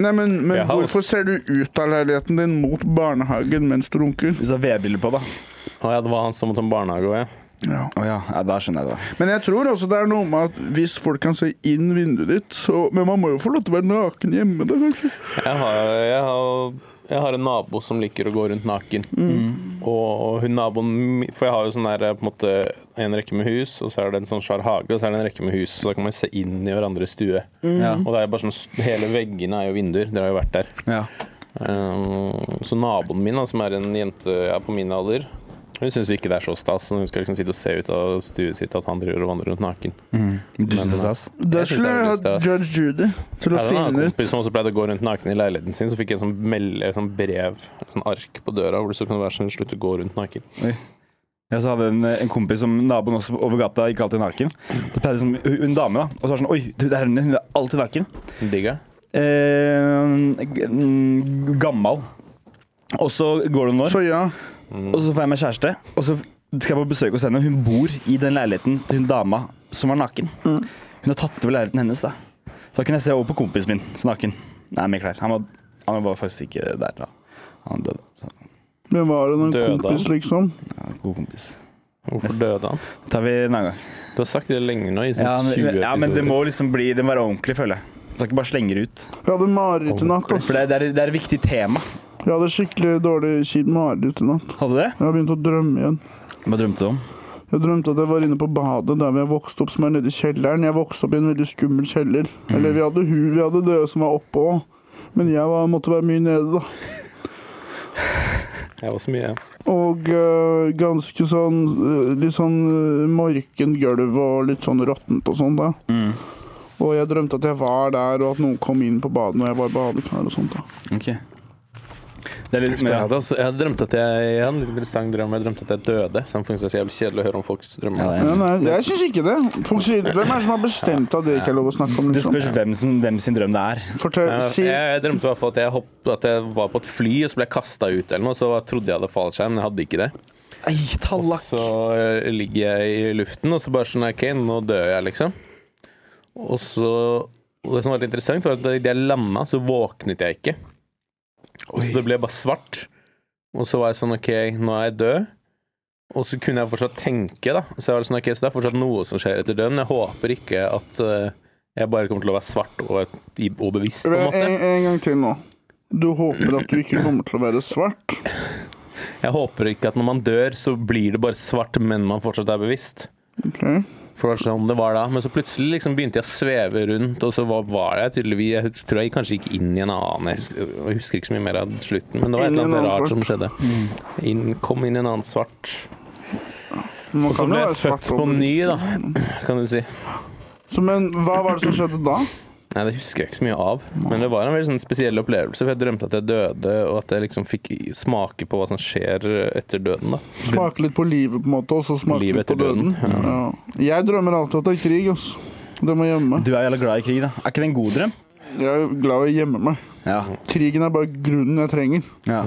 A: Nei, men, men
B: Ja,
A: hvorfor
B: ass.
A: ser du ut av leiligheten din mot barnehagen mens du runker?
C: Hvis du har vedbriller på, da.
B: Å ja, det var han som måtte om barnehage òg, ja.
A: Ja.
C: Å ja. ja, da skjønner jeg det.
A: Men jeg tror også det er noe med at hvis folk kan se inn vinduet ditt, så Men man må jo få lov til å være naken hjemme, da, kanskje.
B: Jeg har, jeg, har, jeg har en nabo som liker å gå rundt naken.
C: Mm.
B: Og hun naboen mi- For jeg har jo sånn der, på en måte en rekke med hus, og så er det en sånn svær hage, og så er det en rekke med hus. Så da kan man se inn i hverandres stue.
C: Mm. Ja.
B: Og det er jo bare sånn, hele veggene er jo vinduer. Dere har jo vært der.
C: Ja.
B: Um, så naboen min, da, som er en jente ja, på min alder, hun syns ikke det er så stas. så Hun skal liksom sitte og se ut av stuet sitt at han driver og vandrer rundt naken.
C: Du synes det er stas?
A: Da skulle
B: Jeg synes det er
A: jeg
B: veldig
A: hatt
B: stas.
A: Judge Judy til å
B: Ja, det var en
A: finne ut
B: kompis som også pleide å gå rundt naken i leiligheten sin, så fikk jeg sånn, melde, sånn brev, sånn ark på døra, hvor det så kunne være sånn 'slutt å gå rundt naken'.
C: eh, Jeg så hadde en, en kompis som naboen også over gata gikk alltid naken. Så pleide liksom, hun, hun dame, da. Og så var det sånn Oi, du, der er hun, hun er alltid naken.
B: Digg, ja.
C: Eh, g- mm, gammal. Og så går det noen år,
A: Så ja.
C: og så får jeg meg kjæreste. Og så skal jeg på besøk hos henne. Hun bor i den leiligheten til hun dama som var naken. Hun har tatt over leiligheten hennes, da. Så da kunne jeg se over på kompisen min, som er naken. Nei, med klær. Han var, han var faktisk ikke der da. Han døde. Så,
A: Hvem var det? En
B: Døde han?
A: kompis, liksom?
C: ja, god kompis.
B: Hvorfor døde han?
C: Det tar vi en annen gang.
B: Du har sagt det lenge nå, i sånn
C: Ja,
B: 20
C: men,
B: episoder.
C: ja, men det må liksom bli Det må være ordentlig, føler jeg. Du skal ikke bare slenge det ut.
A: Jeg hadde mareritt i natt. ass.
C: For det, det, er, det er et viktig tema.
A: Jeg hadde skikkelig dårlig kjipt mareritt i natt.
C: Hadde du det?
A: Jeg har begynt å drømme igjen.
C: Hva drømte du om?
A: Jeg drømte at jeg var inne på badet der vi har vokst opp, som er nede i kjelleren. Jeg vokste opp i en veldig skummel kjeller. Eller vi
B: Mm.
A: hadde hun, vi hadde dere som var oppe òg. Men jeg var, måtte være mye nede, da.
B: Jeg var så mye, ja.
A: Og øh, ganske sånn øh, Litt sånn øh, morkent gulv og litt sånn råttent og sånn, da.
B: Mm.
A: Og jeg drømte at jeg var der, og at noen kom inn på badet når jeg var i badekar og sånt. da.
C: Ok. Det er litt
B: Jeg
C: mer
B: hadde, også, jeg hadde drømt at jeg, jeg hadde en litt interessant drøm. Jeg drømte at jeg døde. Så jeg synes det er så jævlig kjedelig å høre om folks drømmer.
C: Ja, det er-
A: Ja, nei, jeg syns ikke det. Folk sier, Hvem er det som har bestemt at det ikke er lov å snakke om?
C: Det
A: Liksom?
C: spørs hvem, som, hvem sin drøm det er.
A: Fortell,
B: Jeg,
A: si,
B: jeg drømte i hvert fall at jeg, hopp, at jeg var på et fly og så ble jeg kasta ut, eller noe. Så trodde jeg hadde fallskjerm, men jeg hadde ikke det.
C: Ei,
B: Og så eh, ligger jeg i luften, og så bare sånn OK, nå dør jeg, liksom. Og så og Det som var litt interessant, var at da jeg landa, så våknet jeg ikke. Og så det ble bare svart. Og så var jeg sånn OK, nå er jeg død. Og så kunne jeg fortsatt tenke, da. Så jeg var sånn, ok, så det er fortsatt noe som skjer etter døden. Jeg håper ikke at eh, jeg bare kommer til å være svart og, og bevisst, på en måte.
A: en, en gang til nå. Du håper at du ikke kommer til å være svart.
B: Jeg håper ikke at når man dør, så blir det bare svart, men man fortsatt er bevisst.
A: Ok?
B: For det var sånn det var da. Men så plutselig liksom begynte jeg å sveve rundt, og så var, var jeg tydeligvis Jeg hus- tror jeg kanskje gikk inn i en annen Jeg husker, jeg husker ikke så mye mer av slutten, men det var
A: Inn
B: et
A: i
B: eller
A: en
B: annet
A: annen
B: rart
A: svart. Mm.
B: som skjedde. Inn, kom inn i en annen svart.
A: Man
B: Og
A: kan
B: så
A: jo
B: ble
A: være
B: jeg
A: svart Mm.
B: født på ny,
A: bevisst.
B: da, kan du si.
A: Så, men hva var det som skjedde da?
B: Nei, det husker jeg ikke så mye av. Men det var en veldig sånn spesiell opplevelse, for jeg drømte at jeg døde, og at jeg liksom fikk smake på hva som skjer etter døden, da.
A: Smake litt på livet, på en måte, og så smake
B: Livet
A: litt på
B: etter
A: døden.
B: døden,
A: Ja. Jeg drømmer alltid at det er krig, altså. Det må gjemme.
C: Du er jævla glad i krig, da. Er ikke det en god drøm?
A: Jeg er glad i å gjemme meg.
C: Ja.
A: Krigen er bare grunnen jeg trenger.
C: ja.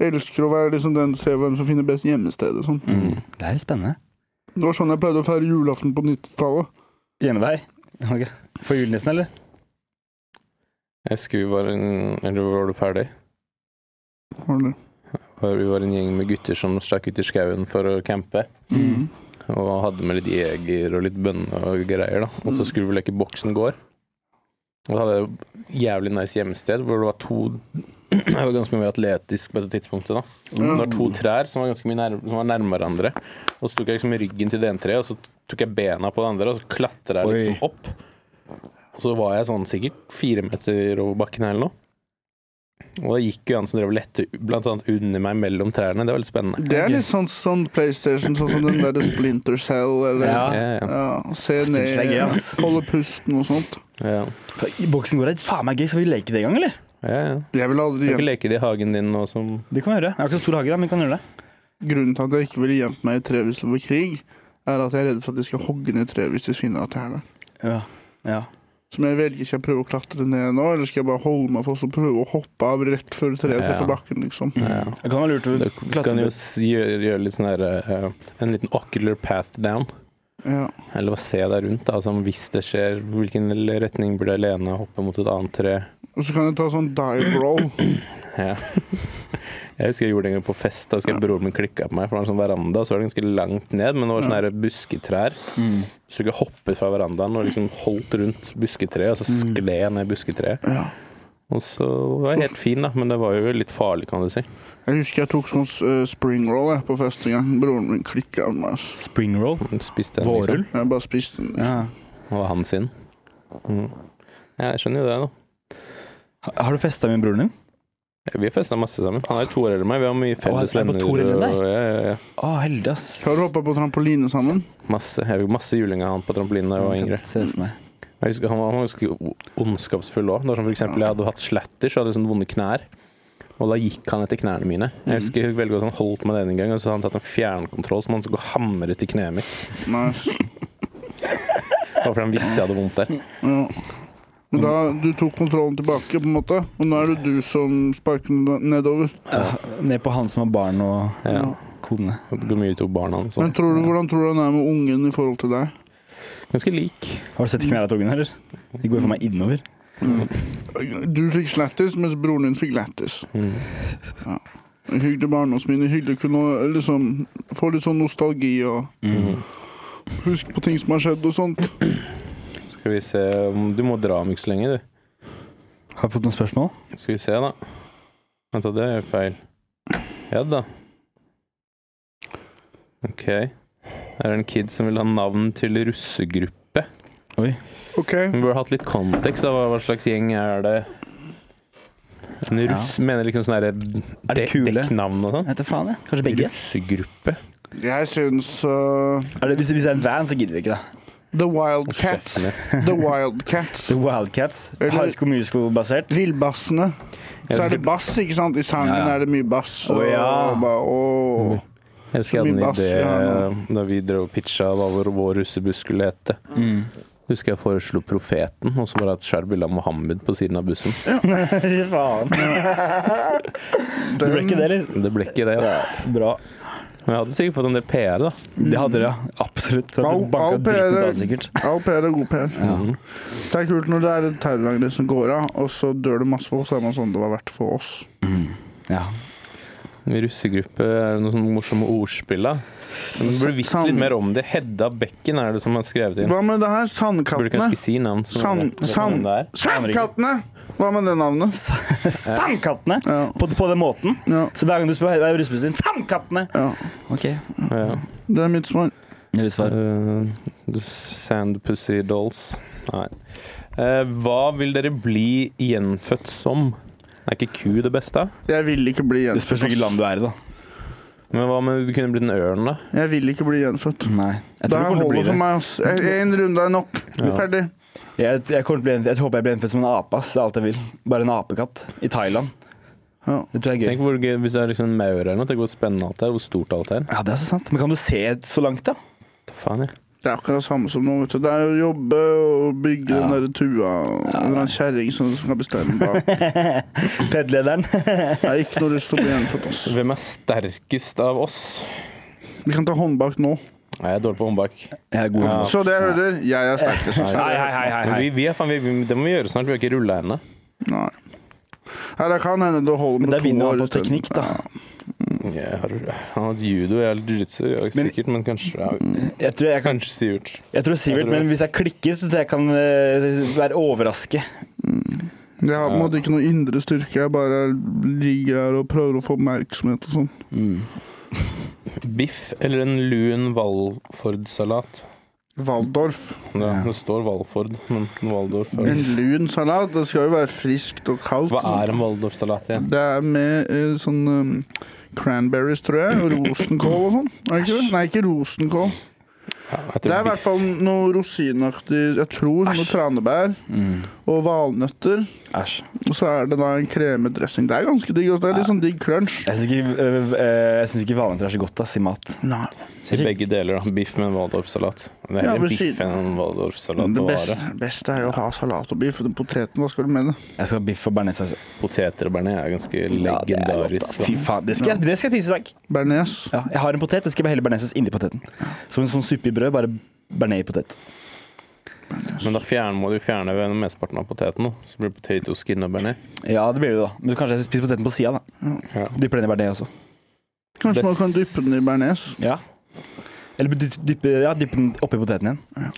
A: Jeg elsker å være liksom den se hvem som finner best gjemmested og sånn.
C: Det er litt spennende.
A: Det var sånn jeg pleide å feire julaften på 90-tallet.
C: Hjemme deg? Ok. For julenissen, eller?
B: Jeg husker vi var en Eller var du ferdig?
A: Var det.
B: Og Vi var en gjeng med gutter som stakk ut i skauen for å campe.
A: Mm.
B: Og hadde med litt jeger og litt bønner og greier. da Og så skulle vi leke Boksen gård. Og da hadde jeg et jævlig nice hjemsted hvor det var to Jeg var ganske mye mer atletisk på det tidspunktet. da Det var to trær som var ganske mye nær, som var nærme hverandre. Og så tok jeg liksom ryggen til det ene treet, og så tok jeg bena på det andre, og så klatra jeg liksom
C: Oi.
B: opp. Og så var jeg sånn sikkert fire meter over bakken her eller noe. Og det gikk jo han som drev og lette blant annet under meg mellom trærne. Det var litt spennende.
A: Det er litt sånn, sånn PlayStation, sånn som den derre Splinter Cell, eller
C: Ja.
A: ja.
B: Ja, ja.
A: se
C: Cell er gøy,
A: ned,
C: ass.
A: holde pusten og sånn.
B: Ja.
C: I boksen går det faen meg gøy. Skal vi leke det i gang, eller?
B: Ja, ja.
A: Jeg vil aldri
B: Kan ikke
A: gjenta
B: leke det i hagen din nå som
C: Det kan vi gjøre. Jeg har ikke så stor hage, da, men vi kan gjøre det.
A: Grunnen til at jeg ikke ville gjemt meg i treet hvis det var krig, er at jeg er redd for at de skal hogge ned treet hvis de finner at jeg er der.
C: Ja. Ja.
A: Som jeg velger, skal jeg prøve å klatre ned nå, eller skal jeg bare holde meg fast og prøve å hoppe av rett før treet treffer
B: Ja.
A: bakken, liksom?
B: ja.
C: Det kan være lurt å
B: Du
C: klatre
B: kan jo
C: litt.
B: s- gjøre, gjøre litt sånn her eh, En liten ocular path down.
A: Ja.
B: Eller bare se deg rundt. da, altså Hvis det skjer, hvilken retning burde jeg lene og hoppe mot et annet tre?
A: Og så kan jeg ta sånn dive roll.
B: Ja. Jeg husker jeg gjorde det en gang på fest. Da husker jeg broren min klikka på meg. For det var en sånn veranda, og så var det ganske langt ned, men det var sånne her busketrær.
C: Mm.
B: Så jeg hoppet fra verandaen og liksom holdt rundt busketreet, og så
C: Mm.
B: skled jeg ned busketreet.
A: Ja.
B: Og så var jeg helt fin, da, men det var jo litt farlig, kan du si.
A: Jeg husker jeg tok sånn eh, spring roll jeg, på fest en gang. Broren min klikka av meg. ass.
C: Spring roll.
B: Spiste en,
C: Vårrull?
B: liksom.
A: Jeg bare spiste den.
C: Ja.
B: Det var han sin. Mm. Ja, jeg skjønner jo det, da.
C: Ha- Har du festa med broren din?
B: Vi festa masse sammen. Han er to år eldre enn meg. Vi har mye felles
C: han er på
B: venner.
C: to år eldre enn deg?
B: og- ja, ja, ja.
C: Å, heldig, ass.
A: Har du hoppa på trampoline sammen?
B: Masse, jeg fikk masse juling av han på trampolinen da jeg var
C: Jeg kan
B: yngre.
C: ikke Se det for meg.
B: Jeg husker Han var, han var ganske o- ondskapsfull òg. For eksempel, jeg hadde hatt slatters og hadde sånne vonde knær. Og da gikk han etter knærne mine.
C: Mhm.
B: Jeg husker veldig godt Han holdt meg den en gang, og så hadde han tatt en fjernkontroll som han skulle hamre til kneet mitt.
A: Nice.
B: Bare fordi han visste jeg hadde vondt der.
A: Ja. Men da du tok kontrollen tilbake, på en måte, og nå er det du som sparker den nedover.
C: Ned på han som har barn og
B: Ja.
C: kone.
B: Det går mye utover barna hans.
A: Men
B: og sånn.
A: tror du, hvordan tror du han er med ungen i forhold til deg?
B: Ganske lik.
C: Har du sett knærne til ungen, eller? De går for meg innover.
A: Du fikk slattis, mens broren din fikk lættis.
B: Mm.
A: Ja. Hyggelig barndomsminne. Hyggelig å kunne liksom, få litt sånn nostalgi og
B: Mm.
C: Mm.
A: huske på ting som har skjedd og sånt.
B: Skal vi se om- Du må dra om ikke så lenge, du.
C: Har du fått noen spørsmål?
B: Skal vi se, da. Vent, da, det er feil. Ja da. OK. Her er en kid som vil ha navn til russegruppe.
A: OK.
B: Vi burde hatt litt kontekst. da. Hva hva slags gjeng er det? En russ mener liksom sånn herre
C: det kule?
B: dekknavn og sånn?
C: Vet du faen, jeg. Kanskje begge?
B: Russegruppe.
A: Jeg syns uh,
C: Er det, hvis, hvis det er en van, så gidder vi ikke, da.
A: The Wildcats. The Wildcats.
C: The Wildcats.
A: Eller-
C: High School Musical-basert.
A: Villbassene. Så er
B: Jeg
A: det
B: husker-
A: bass, ikke sant? I sangen
C: Ja, ja.
A: er det mye bass.
C: Å, ja.
A: og bare, åh.
B: Jeg husker jeg hadde
A: Mye
B: en
A: bass,
B: idé
A: ja.
B: eh, da vi drev og pitcha hva vår, vår russebuss skulle hete.
A: Mm.
B: Husker jeg foreslo Profeten, og så bare et skjært bilde av Mohammed på siden av bussen.
C: Fy faen. Det ble ikke det, eller?
B: Det ble ikke det. Altså.
C: Bra.
B: Men jeg hadde sikkert fått en del PR, da.
C: Det hadde dere, ja. Absolutt. Det
A: Au,
C: hadde
A: au,
C: banka
A: Per.
C: dritten ut av oss, sikkert.
A: Au pair er god pair. Det er kult når det er et terrorangrep som går av, og så dør det masse folk, så er man sånn det var verdt for oss.
C: Ja.
B: Russegruppe er det noen sånne morsomme ordspill, da. Men Du burde visst litt mer om det. Hedda Bekken er det som har skrevet inn.
A: Hva med det her?
B: Burde
A: Sandkattene?
B: kanskje ikke si navn. så
A: Sand,
B: vet man hvem
A: sand,
B: det er.
A: sandkattene! Hva med det navnet?
C: Sandkattene!
A: Ja.
C: På, på den måten.
A: Ja.
C: Så hver gang du spør hva er russebussen din, Sandkattene!
A: ja.
C: OK.
B: Ja.
A: Det er mitt svar.
B: Eh, the Sandpussy Dolls. Nei. Eh, hva vil dere bli gjenfødt som? Er ikke ku det beste?
A: Jeg vil ikke bli
C: Det spørs hvilket
A: gjenfødt.
C: land du er i, da.
B: Men hva med du kunne blitt en ørn, da?
A: Jeg vil ikke bli gjenfødt.
C: Nei. Jeg
A: Det
C: tror
A: her
C: jeg kommer til å
A: holder
C: bli det.
A: for meg. ass. Jeg- En runde er nok.
B: Ja.
A: Ferdig.
C: Jeg, jeg, kommer til å bli, en- jeg håper jeg blir gjenfødt som en ape. ass. Det er alt jeg vil. Bare en apekatt i Thailand.
A: Ja.
C: Det tror jeg er gøy.
B: Tenk hvor gøy hvis det er liksom en maur eller noe. Tenk hvor spennende alt er. Hvor stort alt er.
C: Ja, det er så sant. Men kan du se så langt, da?
B: Faen, ja.
A: Det er akkurat det samme som nå. vet du. Det er jo å jobbe og bygge
C: Ja.
A: den derre tua. og En eller annen kjerring som som kan bestemme bak.
C: PED-lederen.
A: Jeg har ikke noe lyst til å bli gjenfødt. ass.
B: Hvem er sterkest av oss?
A: Vi kan ta håndbak nå.
B: Nei, jeg er dårlig på håndbak.
C: Jeg er god.
B: Ja.
A: Så det jeg hører, jeg er sterkest.
C: Hei, hei, hei, hei,
B: Men
C: hei.
B: vi, vi er, faen, vi, vi, det må vi gjøre snart. Vi har ikke rulla ennå.
A: Nei. Eller det kan hende det holder
C: Men
A: med
C: der
A: to
C: vinner
A: år.
C: han på
A: i stedet.
C: teknikk, da.
B: Jeg har han har hatt judo jeg har hatt jiu-jitsu, jeg har ikke
C: Men-
B: sikkert, men kanskje ja,
C: Jeg tror, jeg, kan,
B: Kanskje Sivert.
C: jeg tror Sivert, men hvis jeg klikker, så tror jeg jeg kan eh, være overraske.
A: Jeg har på en måte ikke noe indre styrke. Jeg bare ligger her og prøver å få oppmerksomhet og sånn.
B: Biff eller en lun Valford-salat?
A: Waldorf.
B: Ja, Det står Valford, men Waldorf er-
A: En lun salat. Det skal jo være friskt og kaldt.
B: Hva er en Waldorf-salat igjen?
A: Det er med eh, sånn um, cranberries, tror jeg. Og rosenkål og sånn. Er det ikke det? Nei, ikke rosenkål.
B: Ja, jeg tror
A: Det er i
B: biff-
A: hvert fall noe rosinaktig Jeg tror noe tranebær. og valnøtter.
C: Æsj.
A: Og så er det da en kremedressing. Det er ganske digg. Altså. Det er litt sånn digg crunch.
C: Jeg syns ikke, øh, øh, jeg synes ikke valnøtter er så godt ass, i mat.
A: Nei.
B: Si begge deler, da. Biff med en waldorfsalat. Det
A: Ja,
B: er heller
A: men
B: biff
A: siden-
B: enn en waldorfsalat
A: Det
B: å
A: beste,
B: vare.
A: beste er jo å ha salat og biff. Den poteten, hva skal du med det?
C: Jeg skal ha biff og bearnéssaus.
B: Poteter og bearnés er ganske
C: det er godt, da.
B: legendarisk.
C: Fy
B: da.
C: faen, det skal, jeg, det skal jeg spise i dag.
A: Bearnés.
C: Ja, jeg har en potet, jeg skal bare helle bearnéssaus inni poteten. Som en sånn suppe i brød, bare bearnés i potet.
B: Men da fjern, må du fjerne ved mesteparten av poteten, da. så blir det potato skin og bearnés.
C: Ja, det blir det, da. Men kanskje jeg spiser poteten på sida, da.
B: Ja.
C: Dypper den i bearnés også.
A: Kanskje man
B: Best-
A: kan dyppe den i bearnés.
C: Ja. Eller dy- dyppe, ja, dyppe den oppi poteten igjen.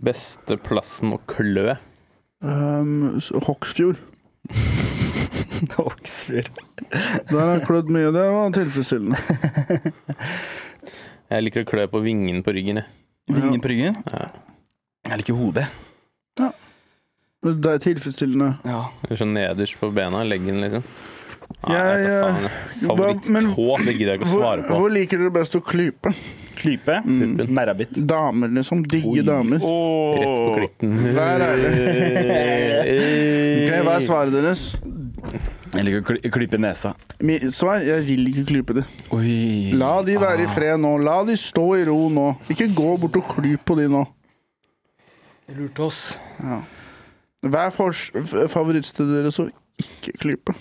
B: Beste plassen å klø.
A: Um, s- Hoksfjord.
C: Oksfjord.
A: Der har jeg klødd mye. Det var tilfredsstillende.
B: Jeg liker å klø på vingen på ryggen, jeg.
C: Vingen på ryggen.
B: Ja.
C: Jeg liker hodet.
A: Det er tilfredsstillende.
C: Ja.
B: Eller sånn nederst på bena, leggen, liksom. Nei,
A: Jeg,
B: jeg vet da faen.
A: hva- men-
B: Favoritt-tå, det gidder jeg ikke å
A: Hvor,
B: svare på.
A: hvor liker dere best å klype?
C: Klype.
B: Puppen.
C: Merrabitt.
A: Damer, liksom. Digge damer.
B: Rett på klitten.
A: Hver er det. Ok, hva er svaret deres?
C: Jeg liker å kly- klype nesa.
A: Mitt svar? Jeg vil ikke klype de.
C: Oi.
A: La de være i fred nå. La de stå i ro nå. Ikke gå bort og klyp på de nå.
C: Lurte oss.
A: Hva er fors- f- favorittstedet deres å ikke klype?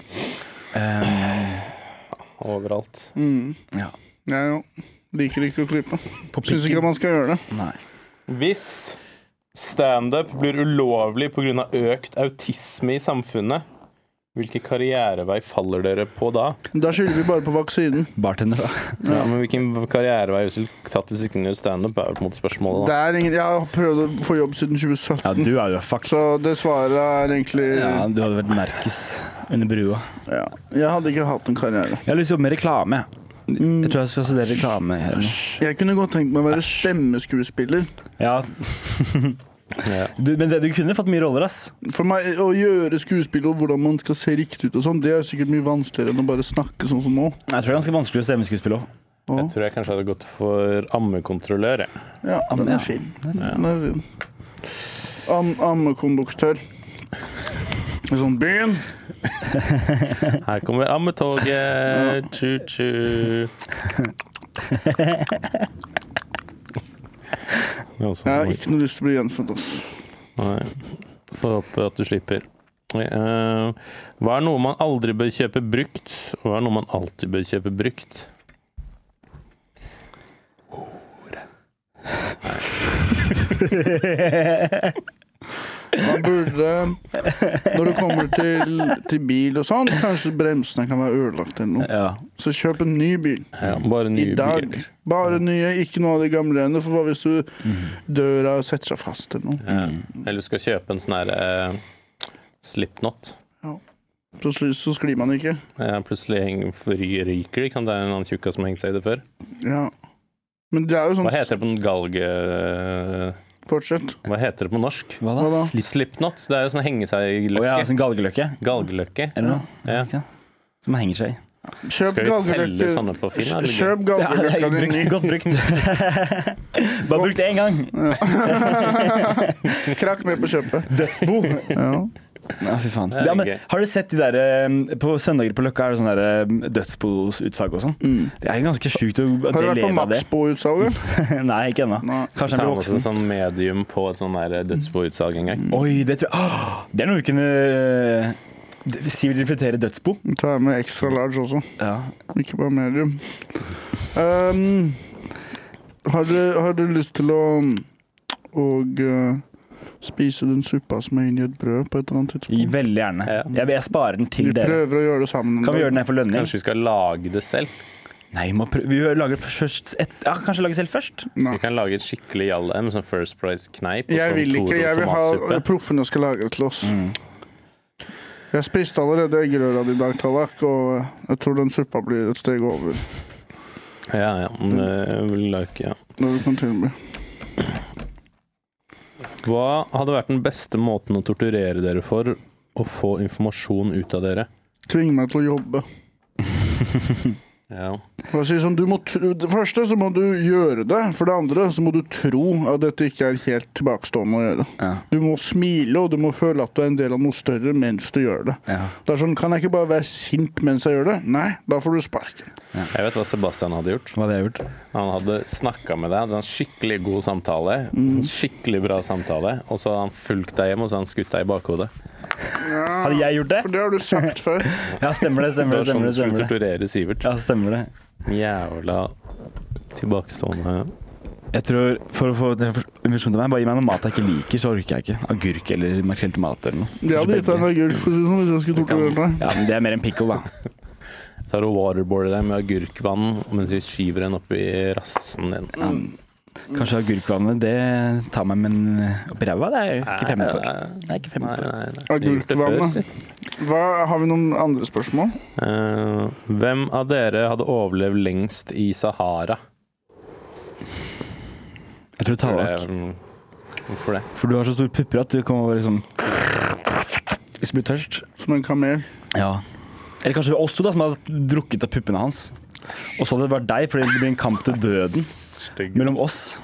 B: Overalt.
C: eh, ja.
A: Jeg jo. Liker ikke å klype.
C: På
A: Syns ikke
C: pikken.
A: man skal gjøre det.
C: Nei.
B: Hvis standup blir ulovlig pga. økt autisme i samfunnet, hvilken karrierevei faller dere på da?
A: Da skylder vi bare på vaksinen.
C: Bartender, da.
B: Ja, men Hvilken karrierevei hvis du tatt hvis du ikke kunne gjøre standup, er jo på en måte spørsmålet.
A: Det
B: da.
A: er ingen, jeg har prøvd å få jobb siden 2017,
C: Ja, du er jo fucked.
A: så det svaret er egentlig
C: Ja, du hadde vært merkes under brua.
A: ja. Jeg hadde ikke hatt en karriere.
C: Jeg har lyst til å jobbe med reklame.
A: Mm.
C: Jeg tror jeg skal studere reklame. eller noe.
A: Jeg kunne godt tenkt meg å være stemmeskuespiller.
C: Ja,
B: Ja.
C: du, men det, du kunne fått mye roller, ass.
A: For meg, Å gjøre skuespill og hvordan man skal se riktig ut, og sånn, det er sikkert mye vanskeligere enn å bare snakke sånn som nå.
C: Jeg tror det er ganske vanskelig å stemmeskuespille òg.
B: Jeg tror jeg kanskje hadde gått for ammekontrollør. jeg.
A: Ja, den
C: ja.
A: er fin. Den er fin. Am ammekonduktør. I sånn byen.
B: Her kommer ammetoget! Tju-tju. Det er også
A: Jeg har
B: noe.
A: ikke noe lyst til å bli gjenfødt, ass.
B: Nei. Får håpe at du slipper. Eh, hva er noe man aldri bør kjøpe brukt, og hva er noe man alltid bør kjøpe brukt?
A: Man burde Når det kommer til, til bil og sånn, kanskje bremsene kan være ødelagt eller noe.
C: Ja.
A: Så kjøp en ny bil
B: Ja, bare
A: i
B: nye
A: dag.
B: biler.
A: Bare nye, ikke noe av de gamle ennå. For hva hvis du døra setter seg fast eller noe?
B: Ja.
C: Mm.
B: Eller du skal kjøpe en sånn her eh, slipknot.
A: Så, sli- så sklir man ikke.
B: Eh, plutselig henger, ry- ryker det, ikke sant? Det er en annen tjukkas som har hengt seg i det før.
A: Ja. Men det er jo sånn
B: Hva heter det på den galge...
A: Fortsett.
B: Hva heter det på norsk?
C: Hva
A: Hva
C: da?
A: da?
B: Slipknot. Det er jo sånn henge seg i
C: Å
B: løkke.
C: ja, sånn galgeløkke?
B: Galgeløkke.
C: Eller noe?
B: Ja.
C: Ikke sant? Som man henger seg i.
A: Kjøp
B: Skal vi selge
A: galgeløkker.
B: sånne på Finn? eller?
A: Kjøp
C: Ja, det er
A: galgeløkka di
C: brukt,
A: ny.
C: godt brukt. Bare brukt én gang.
A: Krakk med på kjøpet.
C: Dødsbo.
A: Ja.
C: Ja, fy faen.
B: Det er
C: Ja, men,
B: gøy.
C: har du sett de der eh, På søndager på Løkka er det sånn der eh, dødsboutsalg og sånn. Det er ganske sjukt å
A: Mm.
C: at
A: Har
C: de
A: du vært på
C: lever av det.
A: Maxbo-utsalget?
C: Nei, ikke ennå.
A: Nei.
B: Ta
C: Kanskje
B: med oss
C: han blir
B: en
C: voksen.
B: sånn medium på et sånn der dødsboutsalg en gang.
A: Mm.
C: Oi, det tror jeg Åh, Det er noe vi kunne eh, d- Si vil reflektere dødsbo.
A: Ta med extra large også.
C: Ja.
A: Ikke bare medium. Ehm, har, du, har du lyst til å og, eh, spise den suppa som er inni et brød på et eller annet tidspunkt?
C: Veldig gjerne.
B: Ja.
C: Jeg, jeg sparer den
A: Vi
C: til dere.
A: prøver å gjøre det sammen. en
C: Kan vi
A: dag.
C: gjøre den her for lønning?
B: Kanskje vi skal lage det selv?
C: Nei, vi må prøve. vi lager først, først et, ja, Kanskje lage selv først?
B: Vi
A: Nei.
B: kan lage et skikkelig jalle med sånn First Price-kneip. og
A: Jeg
B: sånn
A: vil ikke.
B: Toro
A: Jeg vil ha
B: tomatsuppe.
A: proffene skal lage det til oss. Jeg spiste allerede eggerøra di i dag, Tallak, og eh, jeg tror den suppa blir et steg over.
B: Ja, ja.
A: Mm.
B: men det vil jeg ikke, ja.
A: Når du kan tilby.
B: Hva hadde vært den beste måten å torturere dere for å få informasjon ut av dere?
A: Tving meg til å jobbe.
B: Ja.
A: For å si sånn, du må tro, det første så må du gjøre det. For det andre så må du tro at dette ikke er helt tilbakestående å gjøre.
C: Ja.
A: Du må smile, og du må føle at du er en del av noe større mens du gjør det.
C: Ja.
A: Det er sånn, Kan jeg ikke bare være sint mens jeg gjør det? Nei, da får du sparken.
B: Jeg vet hva Sebastian hadde gjort.
C: Hva hadde jeg gjort?
B: Han hadde snakka med deg, hadde en skikkelig god samtale.
C: Mhm.
B: En skikkelig bra samtale. Og så hadde han fulgt deg hjem og så hadde han skutt deg i bakhodet.
C: Hadde jeg gjort det?
A: For det har du sagt før.
C: Ja, stemmer det,
B: Det
C: stemmer det.
B: var sånn du
C: stemmer
B: skulle
C: det, stemmer det.
B: torturere Sivert.
C: Ja, stemmer det.
B: Jævla tilbakestående
C: Jeg tror, For å få en funksjon til meg, bare gi meg noe mat jeg ikke liker, så orker jeg ikke. Agurk eller makrell i tomat eller noe.
A: Jeg hadde gitt deg en agurk for å si det sånn, hvis jeg skulle torturere deg.
C: Ja, men Det er mer en pickle, da.
B: Tar og waterboarder deg med agurkvann mens vi skyver den opp i rassen din.
C: Kanskje agurkvannet det tar meg med en opp i ræva. Det er jeg ikke fremmed for. Det er jeg ikke
B: Nei,
C: fremmed for.
B: nei, nei.
A: Agurkvannet.
B: Si.
A: Hva, har vi noen andre spørsmål?
B: Eh, hvem av dere hadde overlevd lengst i Sahara?
C: Jeg tror tallak.
B: Mm, Hvorfor det?
C: For du har så store pupper at du kommer over liksom Hvis du blir tørst.
A: Som en kamel?
C: Ja. Eller kanskje det var oss to da, som hadde drukket av puppene hans. Og så hadde det vært deg, fordi det blir en kamp til døden mellom oss.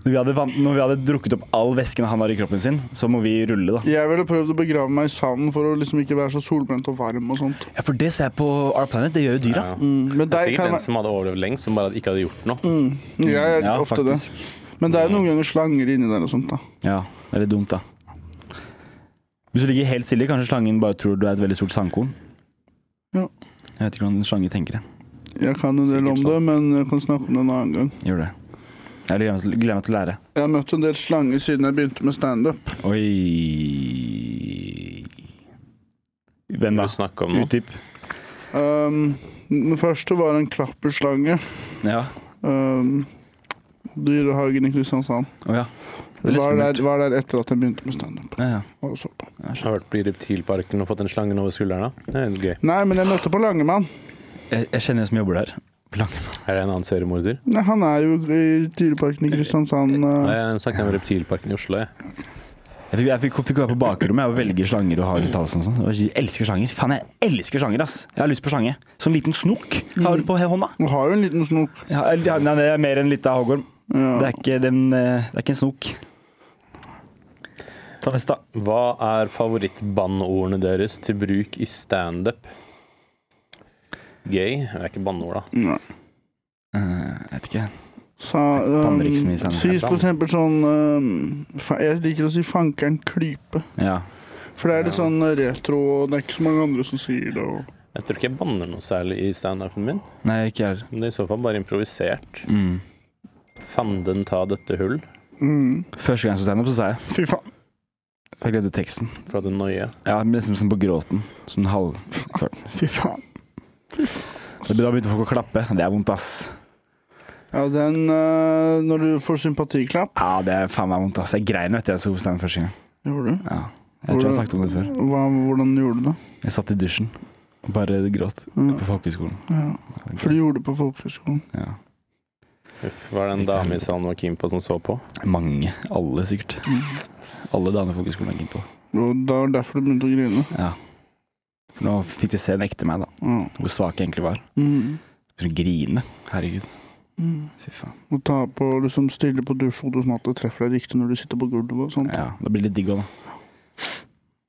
C: Når vi, hadde van når vi hadde drukket opp all væsken han har i kroppen sin, så må vi rulle, da.
A: Jeg ville prøvd å begrave meg i sanden for å liksom ikke være så solbrent og varm og sånt.
C: Ja, for det ser jeg på Our Planet, det gjør jo dyra.
B: Ja.
A: Mm, men
B: Det er
A: deg
B: sikkert
A: kan
B: den som hadde overlevd lengst, som bare ikke hadde gjort noe.
C: Mm.
A: jeg er
C: Ja,
A: ofte
C: faktisk.
A: det. Men det er jo noen ganger slanger inni der og sånt, da.
C: Ja, det er litt dumt, da. Hvis du ligger helt stille, kanskje slangen bare tror du er et veldig stort sandkorn.
A: Ja.
C: Jeg vet ikke hvordan en slange tenker det.
A: Jeg kan en del om
B: Sikkert
A: det, men jeg kan snakke om det en annen gang.
C: Gjør det. Jeg gleder meg til- gleder meg til å lære.
A: Jeg har møtt en del slanger siden jeg begynte med standup.
C: Oi Hvem
B: Vil
C: da?
B: du snakke om noe?
C: Utdyp.
A: Um, den første var en klapperslange.
C: Ja.
A: Um, Dyrehagen i Kristiansand.
C: Å ja. Det er litt
A: Var
C: skummelt.
A: der, var der etter at jeg begynte med standup.
C: Ja, ja.
A: og så på.
B: Jeg har vært på Reptilparken og fått en slange over skulderen. da. Det er litt gøy.
A: Nei, men jeg møtte på Langemann.
C: Jeg, jeg kjenner en som jobber der. Lange.
B: Er det en annen seriemorder?
A: Nei, han er jo i Dyreparken i Kristiansand.
C: Eh,
B: Nei,
A: Uh,
B: Jeg snakket om Reptilparken i Oslo. Jeg.
C: Jeg fikk, jeg fikk, fikk være på bakrommet jeg, og velge slanger og ha uttalelser og sånn. Og Jeg elsker slanger. Faen, jeg elsker slanger, ass. Jeg har lyst på slange. Som en liten snok har du på he- hånda.
A: og har jo en liten snok.
C: Ja, eller- ja, nei, det er mer enn lita hoggorm. Det,
A: Ja.
C: er ikke den, eh, det er ikke en snok. Ta neste, da.
B: Hva er favorittbanneordene deres til bruk i standup? Gay det er ikke banneord, da.
A: Nei.
C: Eh, jeg vet ikke.
A: Sa,
C: Banner ikke så
A: um,
C: mye sammen.
A: si for eksempel sånn um, fa Jeg liker å si 'fankeren klype'.
C: Ja.
A: For det er litt sånn retro, og det er ikke så mange andre som sier det. Og
B: Jeg tror ikke jeg banner noe særlig i standupen min.
C: Nei, ikke jeg heller.
B: Men det er i så fall bare improvisert.
C: Mm.
B: Fanden ta dette hull
A: Mm.
C: Første gang jeg så standup, så sa jeg
A: Fy faen.
C: Jeg glemte teksten.
B: fra det nøye.
C: Ja, men liksom som på gråten. Sånn halv...
A: Fy faen.
C: Da begynte folk å klappe. Det er vondt, ass.
A: Ja, den eh, Når du får sympatiklapp
C: Ja, det er faen meg vondt, ass. Jeg grein etter jeg så stand første gang.
A: Gjorde du?
C: Ja. Jeg tror jeg har snakket om det før.
A: Hva, hvordan gjorde du det?
C: Jeg satt i dusjen og bare gråt
A: Mm.
C: på folkehøyskolen.
A: Ja. For du gjorde det på folkehøgskolen.
C: Ja.
B: Uff, var det en dame i salen var keen på som så på?
C: Mange. Alle, sikkert. Alle damene på folkehøyskolen er keen på.
A: Og da var det derfor du begynte å grine.
C: Ja. For nå fikk de se en ekte meg, da.
A: Ja.
C: Hvor svak jeg egentlig var.
A: Mm.
C: For å grine. Herregud.
A: Mm.
C: Fy faen.
A: Og ta på, liksom stille på dusjhodet sånn at det treffer deg riktig når du sitter på gulvet og sånt.
C: Ja, det blir litt digg òg, da.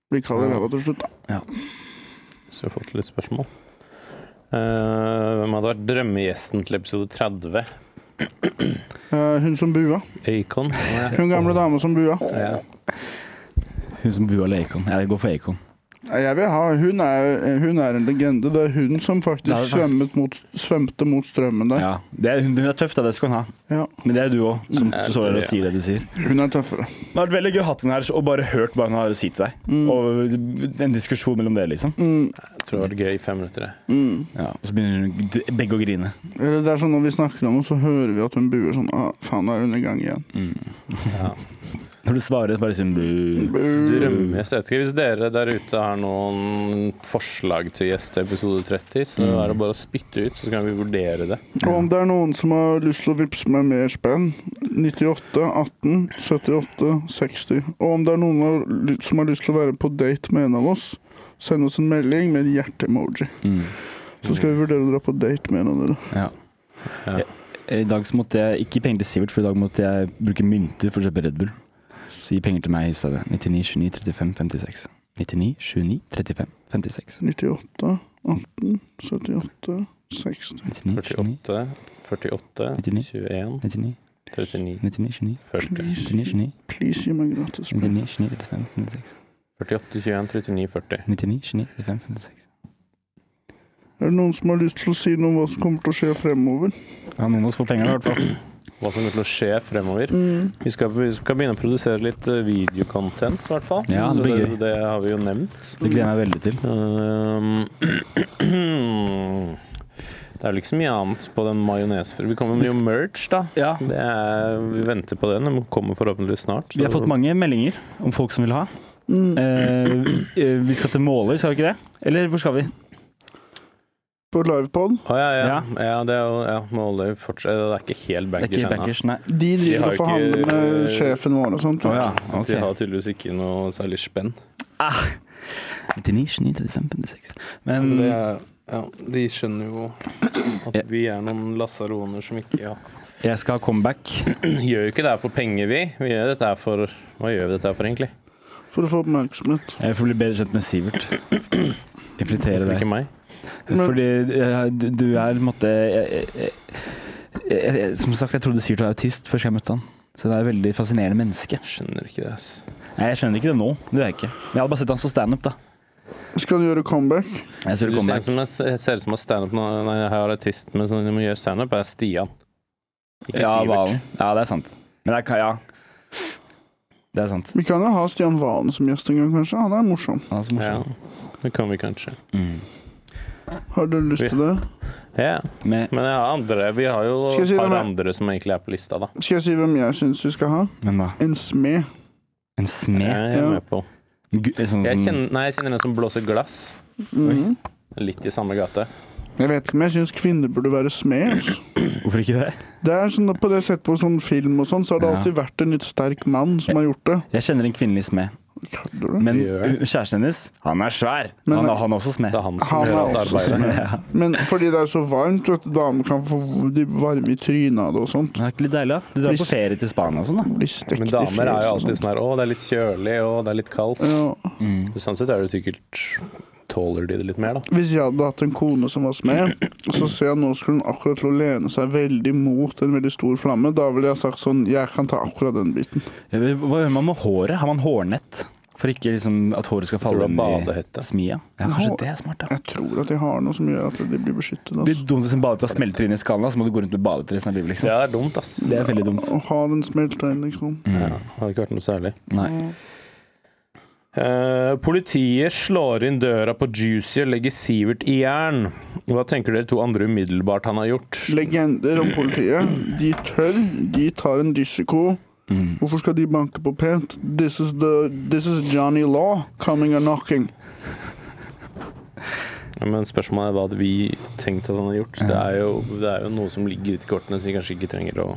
A: Blir kald i ræva til slutt, da.
B: Så vi har fått litt spørsmål. Eh, hvem hadde vært drømmegjesten til episode 30?
A: Eh, hun som bua.
B: Acon? Nei.
A: Hun gamle dama som bua.
B: Ja.
C: Hun som bua eller Acon. Jeg går for Acon.
A: Nei, Eh, Jeg vil ha, hun, er, eh, hun er en legende. Det er hun som faktisk,
C: Det er det faktisk.
A: Svømmet mot, svømte mot strømmen der.
C: Ja. Det er, hun, hun er tøff, da. Det skal hun ha.
A: Ja.
C: Men det er du òg, som
B: Jeg
C: står
B: tror
C: der
B: det,
C: og sier det du sier.
A: Hun er tøffere.
C: Det har vært veldig gøy å ha den her og bare hørt hva hun har å si til deg.
B: Mm.
C: Og en diskusjon mellom dere, liksom.
B: Jeg tror det var gøy i fem minutter. jeg.
C: Ja, og så begynner hun- d- begge å grine.
A: Eller det er sånn Når vi snakker om henne, så hører vi at hun buer sånn ah, 'Faen, nå er hun i gang igjen'.
B: Ja.
C: Når du svarer, bare sånn bu.
B: Drømmegjest. Jeg vet ikke, Hvis dere der ute har noen forslag til gjest til episode 30,
C: Mm.
B: så er det bare å spytte ut, så kan vi vurdere det.
A: Og om det er noen som har lyst til å vippse meg mer spenn 98 18 78 60. Og om det er noen av ly- som har lyst til å være på date med en av oss, send oss en melding med en hjerte-emoji. Så skal vi vurdere å dra på date med en av dere.
C: Mm. Ja.
B: Ja.
C: Jeg- I dag så måtte jeg ikke gi penger til Sivert, for i dag måtte jeg bruke mynter for å kjøpe Red Bull. Så gi penger til meg i stedet. 99 29 35 56. 99 29 35 56.
A: 98, 18, 78, 60.
C: 99 29
B: 48, 48,
C: 99.
B: 21,
C: 99
B: 39,
C: 99 29
B: 40.
A: Please,
C: 99 29
A: please gi meg gratis.
C: 99 29 35 56.
B: 48, 21, 39, 40.
C: 99 29 35 56.
A: Er det noen som har lyst til å si noe om hva som kommer til å skje fremover?
C: Ja, noen av oss får penger, i hvert fall.
B: Hva som kommer til å skje fremover.
A: Mm.
B: Vi skal, vi skal begynne å produsere litt eh, videocontent, i hvert fall.
C: Ja, det
B: Så
C: blir
B: det,
C: gøy.
B: det har vi jo nevnt.
C: Det gleder jeg meg veldig til.
B: Um, det er vel ikke så mye annet på den majones... Vi kommer med jo merch, da.
C: Ja,
B: Det er, vi venter på den. Den kommer forhåpentligvis snart.
C: Vi har fått mange meldinger om folk som vil ha. Eh, eh, vi skal til Måløy, skal vi ikke det? Eller hvor skal vi?
A: På livepod.
B: Å, ja, ja. ja. det er jo ja, Måløy fortsatt Det er ikke helt
C: Det er
B: baggers
C: ikke
B: ennå.
C: backers, nei.
A: De
B: har
A: driver og
B: ikke-
A: forhandler med sjefen vår og sånt.
C: Å ja,
B: De
C: Ah, ok.
B: har tydeligvis ikke noe særlig spenn.
C: 99, 29, 35, 56.
B: Men Altså,
C: Men
B: det er, ja, de skjønner jo at vi er noen lasaroner som ikke ja.
C: jeg skal ha comeback.
B: Gjør jo ikke det her for penger, vi. Vi gjør dette her for Hva gjør vi dette her for, egentlig?
A: For å få oppmerksomhet.
C: Jeg får bli bedre kjent med Sivert. Infiltrere
B: Hvorfor
C: deg.
B: ikke meg?
A: Men-
C: Fordi eh, du, du er på en måte jeg, jeg, jeg, jeg, Som sagt, jeg trodde Sivert var autist først jeg møtte han. Så det er et veldig fascinerende menneske.
B: Skjønner ikke det, ass.
C: Nei, Jeg skjønner ikke det nå. Det gjør jeg ikke. Men jeg hadde bare sett han så standup, da.
A: Skal du gjøre comeback?
C: Jeg
B: Du
C: skulle
B: ser
C: comeback.
B: ut som jeg jeg ser ut som jeg standup nå. Nei, jeg har artist, men sånn, jeg må gjøre standup, er Stian. Ikke
C: Ja,
B: Sivert.
C: Valen. Ja, det er sant. Men det er Kaja. Det er sant.
A: Vi kan jo ha Stian Valen som gjest en gang, kanskje. Han er morsom.
C: Han er så
B: Ja,
C: morsom.
B: det kan vi kanskje.
C: Mm.
A: Har dere lyst
B: Vi-
A: til det?
B: Ja,
C: Men,
B: Men jeg har andre, vi har jo
A: Skal jeg
B: et
A: si
B: par
A: hvem jeg-
B: andre som egentlig er på lista, da.
A: Skal jeg si hvem jeg syns vi skal ha?
C: men hva?
A: En smed.
C: En smed?
B: Jeg er
A: Ja.
B: med på.
C: Gu- Sånn
B: Jeg
C: som
B: kjenner, nei, jeg kjenner en som blåser glass.
A: Mhm.
B: Litt i samme gate.
A: Jeg vet ikke, men jeg syns kvinner burde være smed. altså.
C: Hvorfor ikke det?
A: Det er sånn, På det sett på sånn film og sånn, så har det
C: Ja.
A: alltid vært en litt sterk mann som har gjort det.
C: Jeg kjenner en kvinnelig smed.
A: Kødder du?
C: Men
B: Det gjør jeg.
C: kjæresten hennes, han er svær.
A: Men-
C: han, er- han er også smed.
B: Det er han som
A: Han er
B: gjør alt
A: også sånn
B: arbeidet.
A: Men fordi det er så varmt, vet du, damer kan få de varme i trynet av det og sånt.
C: Det er ikke litt deilig, da? Du drar på ferie til Spania og sånn, da.
A: Blir stekt i
B: Men damer er jo
A: fjes og
B: alltid
A: sånt.
B: sånn her Å, det er litt kjølig, å, det er litt kaldt.
A: Ja.
B: Sånn sett er det sikkert Tåler de det litt mer, da?
A: Hvis jeg hadde hatt en kone som var smed, og så ser jeg nå skulle hun akkurat til å lene seg veldig mot en veldig stor flamme, da ville jeg sagt sånn Jeg kan ta akkurat den biten.
C: Ja, men Hva gjør man med håret? Har man hårnett? For ikke liksom at håret skal falle
B: Tror du
C: inn
B: det er
C: i
B: badehette?
C: smia? Ja, kanskje det er smart, da.
A: Jeg tror at jeg har noe som gjør at de blir beskyttet.
C: Det
A: Altså.
C: blir dumt hvis en badehette smelter inn i skallen, da, så må du gå rundt med badehette resten av livet,
B: Det
C: liksom.
B: er dumt, ass.
C: Det er veldig dumt.
A: Å ha den smelta inn, liksom.
B: Ja, hadde ikke vært noe særlig.
C: Nei.
B: Eh, politiet slår inn døra på Juicy og legger Sivert i jern. Hva tenker dere to andre umiddelbart han har gjort?
A: Legender om politiet. De tør. De tar en risiko. Hvorfor skal de banke på pent? This is, the, this is Johnny Law coming and knocking.
B: Ja, men spørsmålet er hva hadde vi tenkt at han har gjort. Det, er jo, det er jo noe som ligger ute i kortene, så vi kanskje ikke trenger å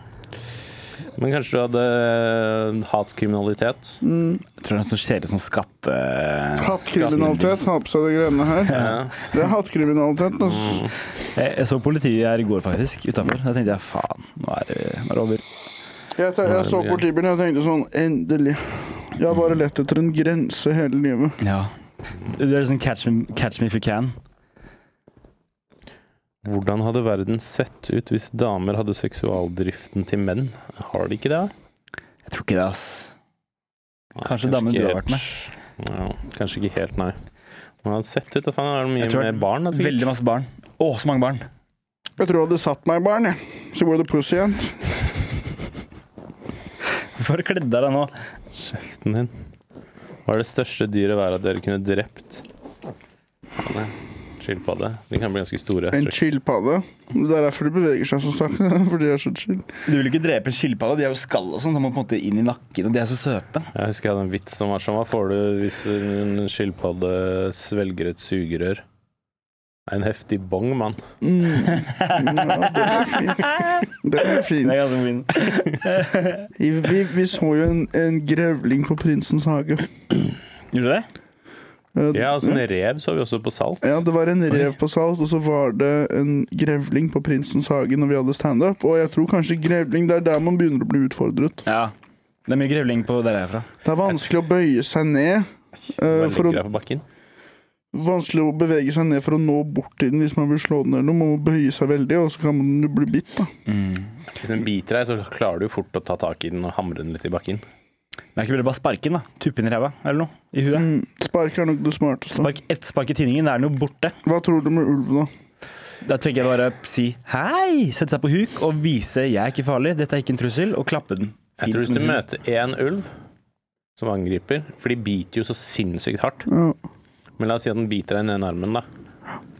B: Men kanskje du hadde hatkriminalitet?
C: Jeg tror det er noe så kjedelig sånn eh, som skatte...
A: Hattkriminalitet. Ha på seg de greiene her.
B: Ja.
A: Det er hattkriminalitet. Altså.
C: Jeg, jeg så politiet her i går, faktisk, utafor. Da tenkte jeg faen, nå er det, nå er det over.
A: Jeg, te- jeg så politibilen og tenkte sånn Endelig. Jeg har bare lett etter en grense hele livet.
C: Ja. Det er sånn catch me, catch me if you can.
B: Hvordan hadde verden sett ut hvis damer hadde seksualdriften til menn? Har de ikke det?
C: Jeg tror ikke det, ass.
B: Nei,
C: Kanskje damer
B: ikke
C: du har
B: helt.
C: vært med.
B: Ja, kanskje ikke helt, nei. Men det hadde sett ut, da faen, er det
C: Jeg
B: mye
C: tror
B: mer barn? Da, sikkert?
C: Veldig masse barn. Å, så mange barn.
A: Jeg tror jeg hadde satt meg i barn, jeg. Så går det pussy igjen.
C: Hvorfor har du kledd av deg nå?
B: Kjeften din. Hva er det største dyret hver av dere kunne drept? Faen, jeg. Skilpadde. De kan bli ganske store.
A: En
B: tror jeg.
A: chillpadde. Det er derfor de beveger seg så sakte. Fordi de er så chill.
C: Du vil ikke drepe en skilpadde. De har jo skall og sånn. De må på en måte inn i nakken, og de er så søte.
B: Jeg husker jeg hadde en vits som var sånn. Hva får du hvis en skilpadde svelger et sugerør? En heftig bong, mann.
A: Mm. Ja, det er fint. Det er fint.
C: Det er ganske fint.
A: Vi, vi, vi så jo en, en grevling på Prinsens hage.
C: Gjorde du det?
A: Eh,
B: Ja, altså en rev så vi også på Salt.
A: Ja, det var en rev på Salt, og så var det en grevling på Prinsens hage når vi hadde standup. Og jeg tror kanskje grevling det er der man begynner å bli utfordret.
C: Ja. Det er mye grevling på der jeg er fra.
A: Det er vanskelig å bøye seg ned. eh,
B: Bare
A: for å,
B: ligger der på bakken.
A: vanskelig å bevege seg ned for å nå bort til den hvis man vil slå den eller noe. Man må bøye seg veldig, og så kan man jo bli bitt, da.
B: Hvis den biter deg, så klarer du jo fort å ta tak i den og hamre den litt i bakken.
C: Men er det ikke bedre å bare sparke den, da? Tuppe den i ræva eller noe? I huet?
A: Mm, Spark er nok det smarteste.
C: Spark ett spark i tinningen, da er den jo borte.
A: Hva tror du med ulv, da?
C: Da tenker jeg bare si hei, sette seg på huk og vise jeg er ikke farlig, dette er ikke en trussel, og klappe den.
B: Jeg tror hvis du møter én ulv som angriper, for de biter jo så sinnssykt hardt
A: Ja.
B: Men la oss si at den biter deg ned i den armen, da.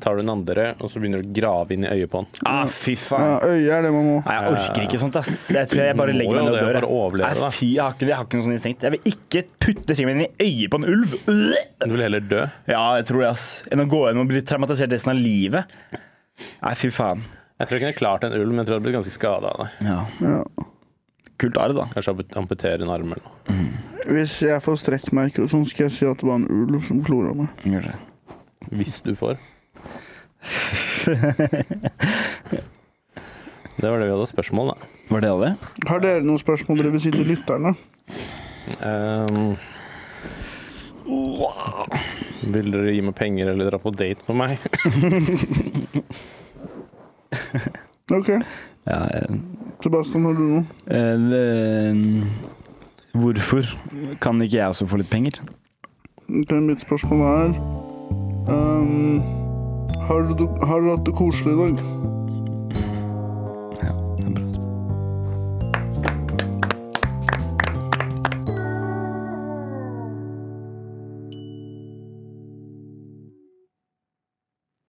B: Tar du den andre, og så begynner du å grave inn i øyet på den.
C: Ah, fy faen.
A: Ja, øye er det man må.
C: Nei, jeg orker ikke sånt, ass. Jeg tror jeg bare
B: Må
C: legger meg
B: jo
C: ned og
B: det,
C: dør.
B: bare overleve,
C: jeg.
B: da.
C: Nei, fy, jeg har ikke, jeg har ikke noe sånn instinkt. Jeg vil ikke putte fingeren min i øyet på en ulv. Øh!
B: Du vil heller dø.
C: Ja, jeg tror det, ass. Enn å gå hjem og bli traumatisert resten av livet. Nei, fy faen.
B: Jeg tror ikke jeg kunne klart en ulv, men jeg tror jeg hadde blitt ganske skada av det.
C: Ja.
A: Ja.
C: Kult arr, da.
B: Kanskje ampu- amputere en arm eller noe.
A: Hvis jeg får strekkmerker og sånn, skal jeg si at det var en ulv som klora meg.
C: Gjør det.
B: Hvis du får. Det var det vi hadde spørsmål, da.
C: Var det alle?
A: Har dere noen spørsmål dere vil si til lytterne?
B: Ehm, vil dere gi meg penger eller dra på date med meg?
A: Ok,
C: Ja, eh,
A: Sebastian, har du noe?
C: eh, det- Hvorfor kan ikke jeg også få litt penger?
A: Ok, mitt spørsmål er ehm, har, du, har du hatt det koselig i dag?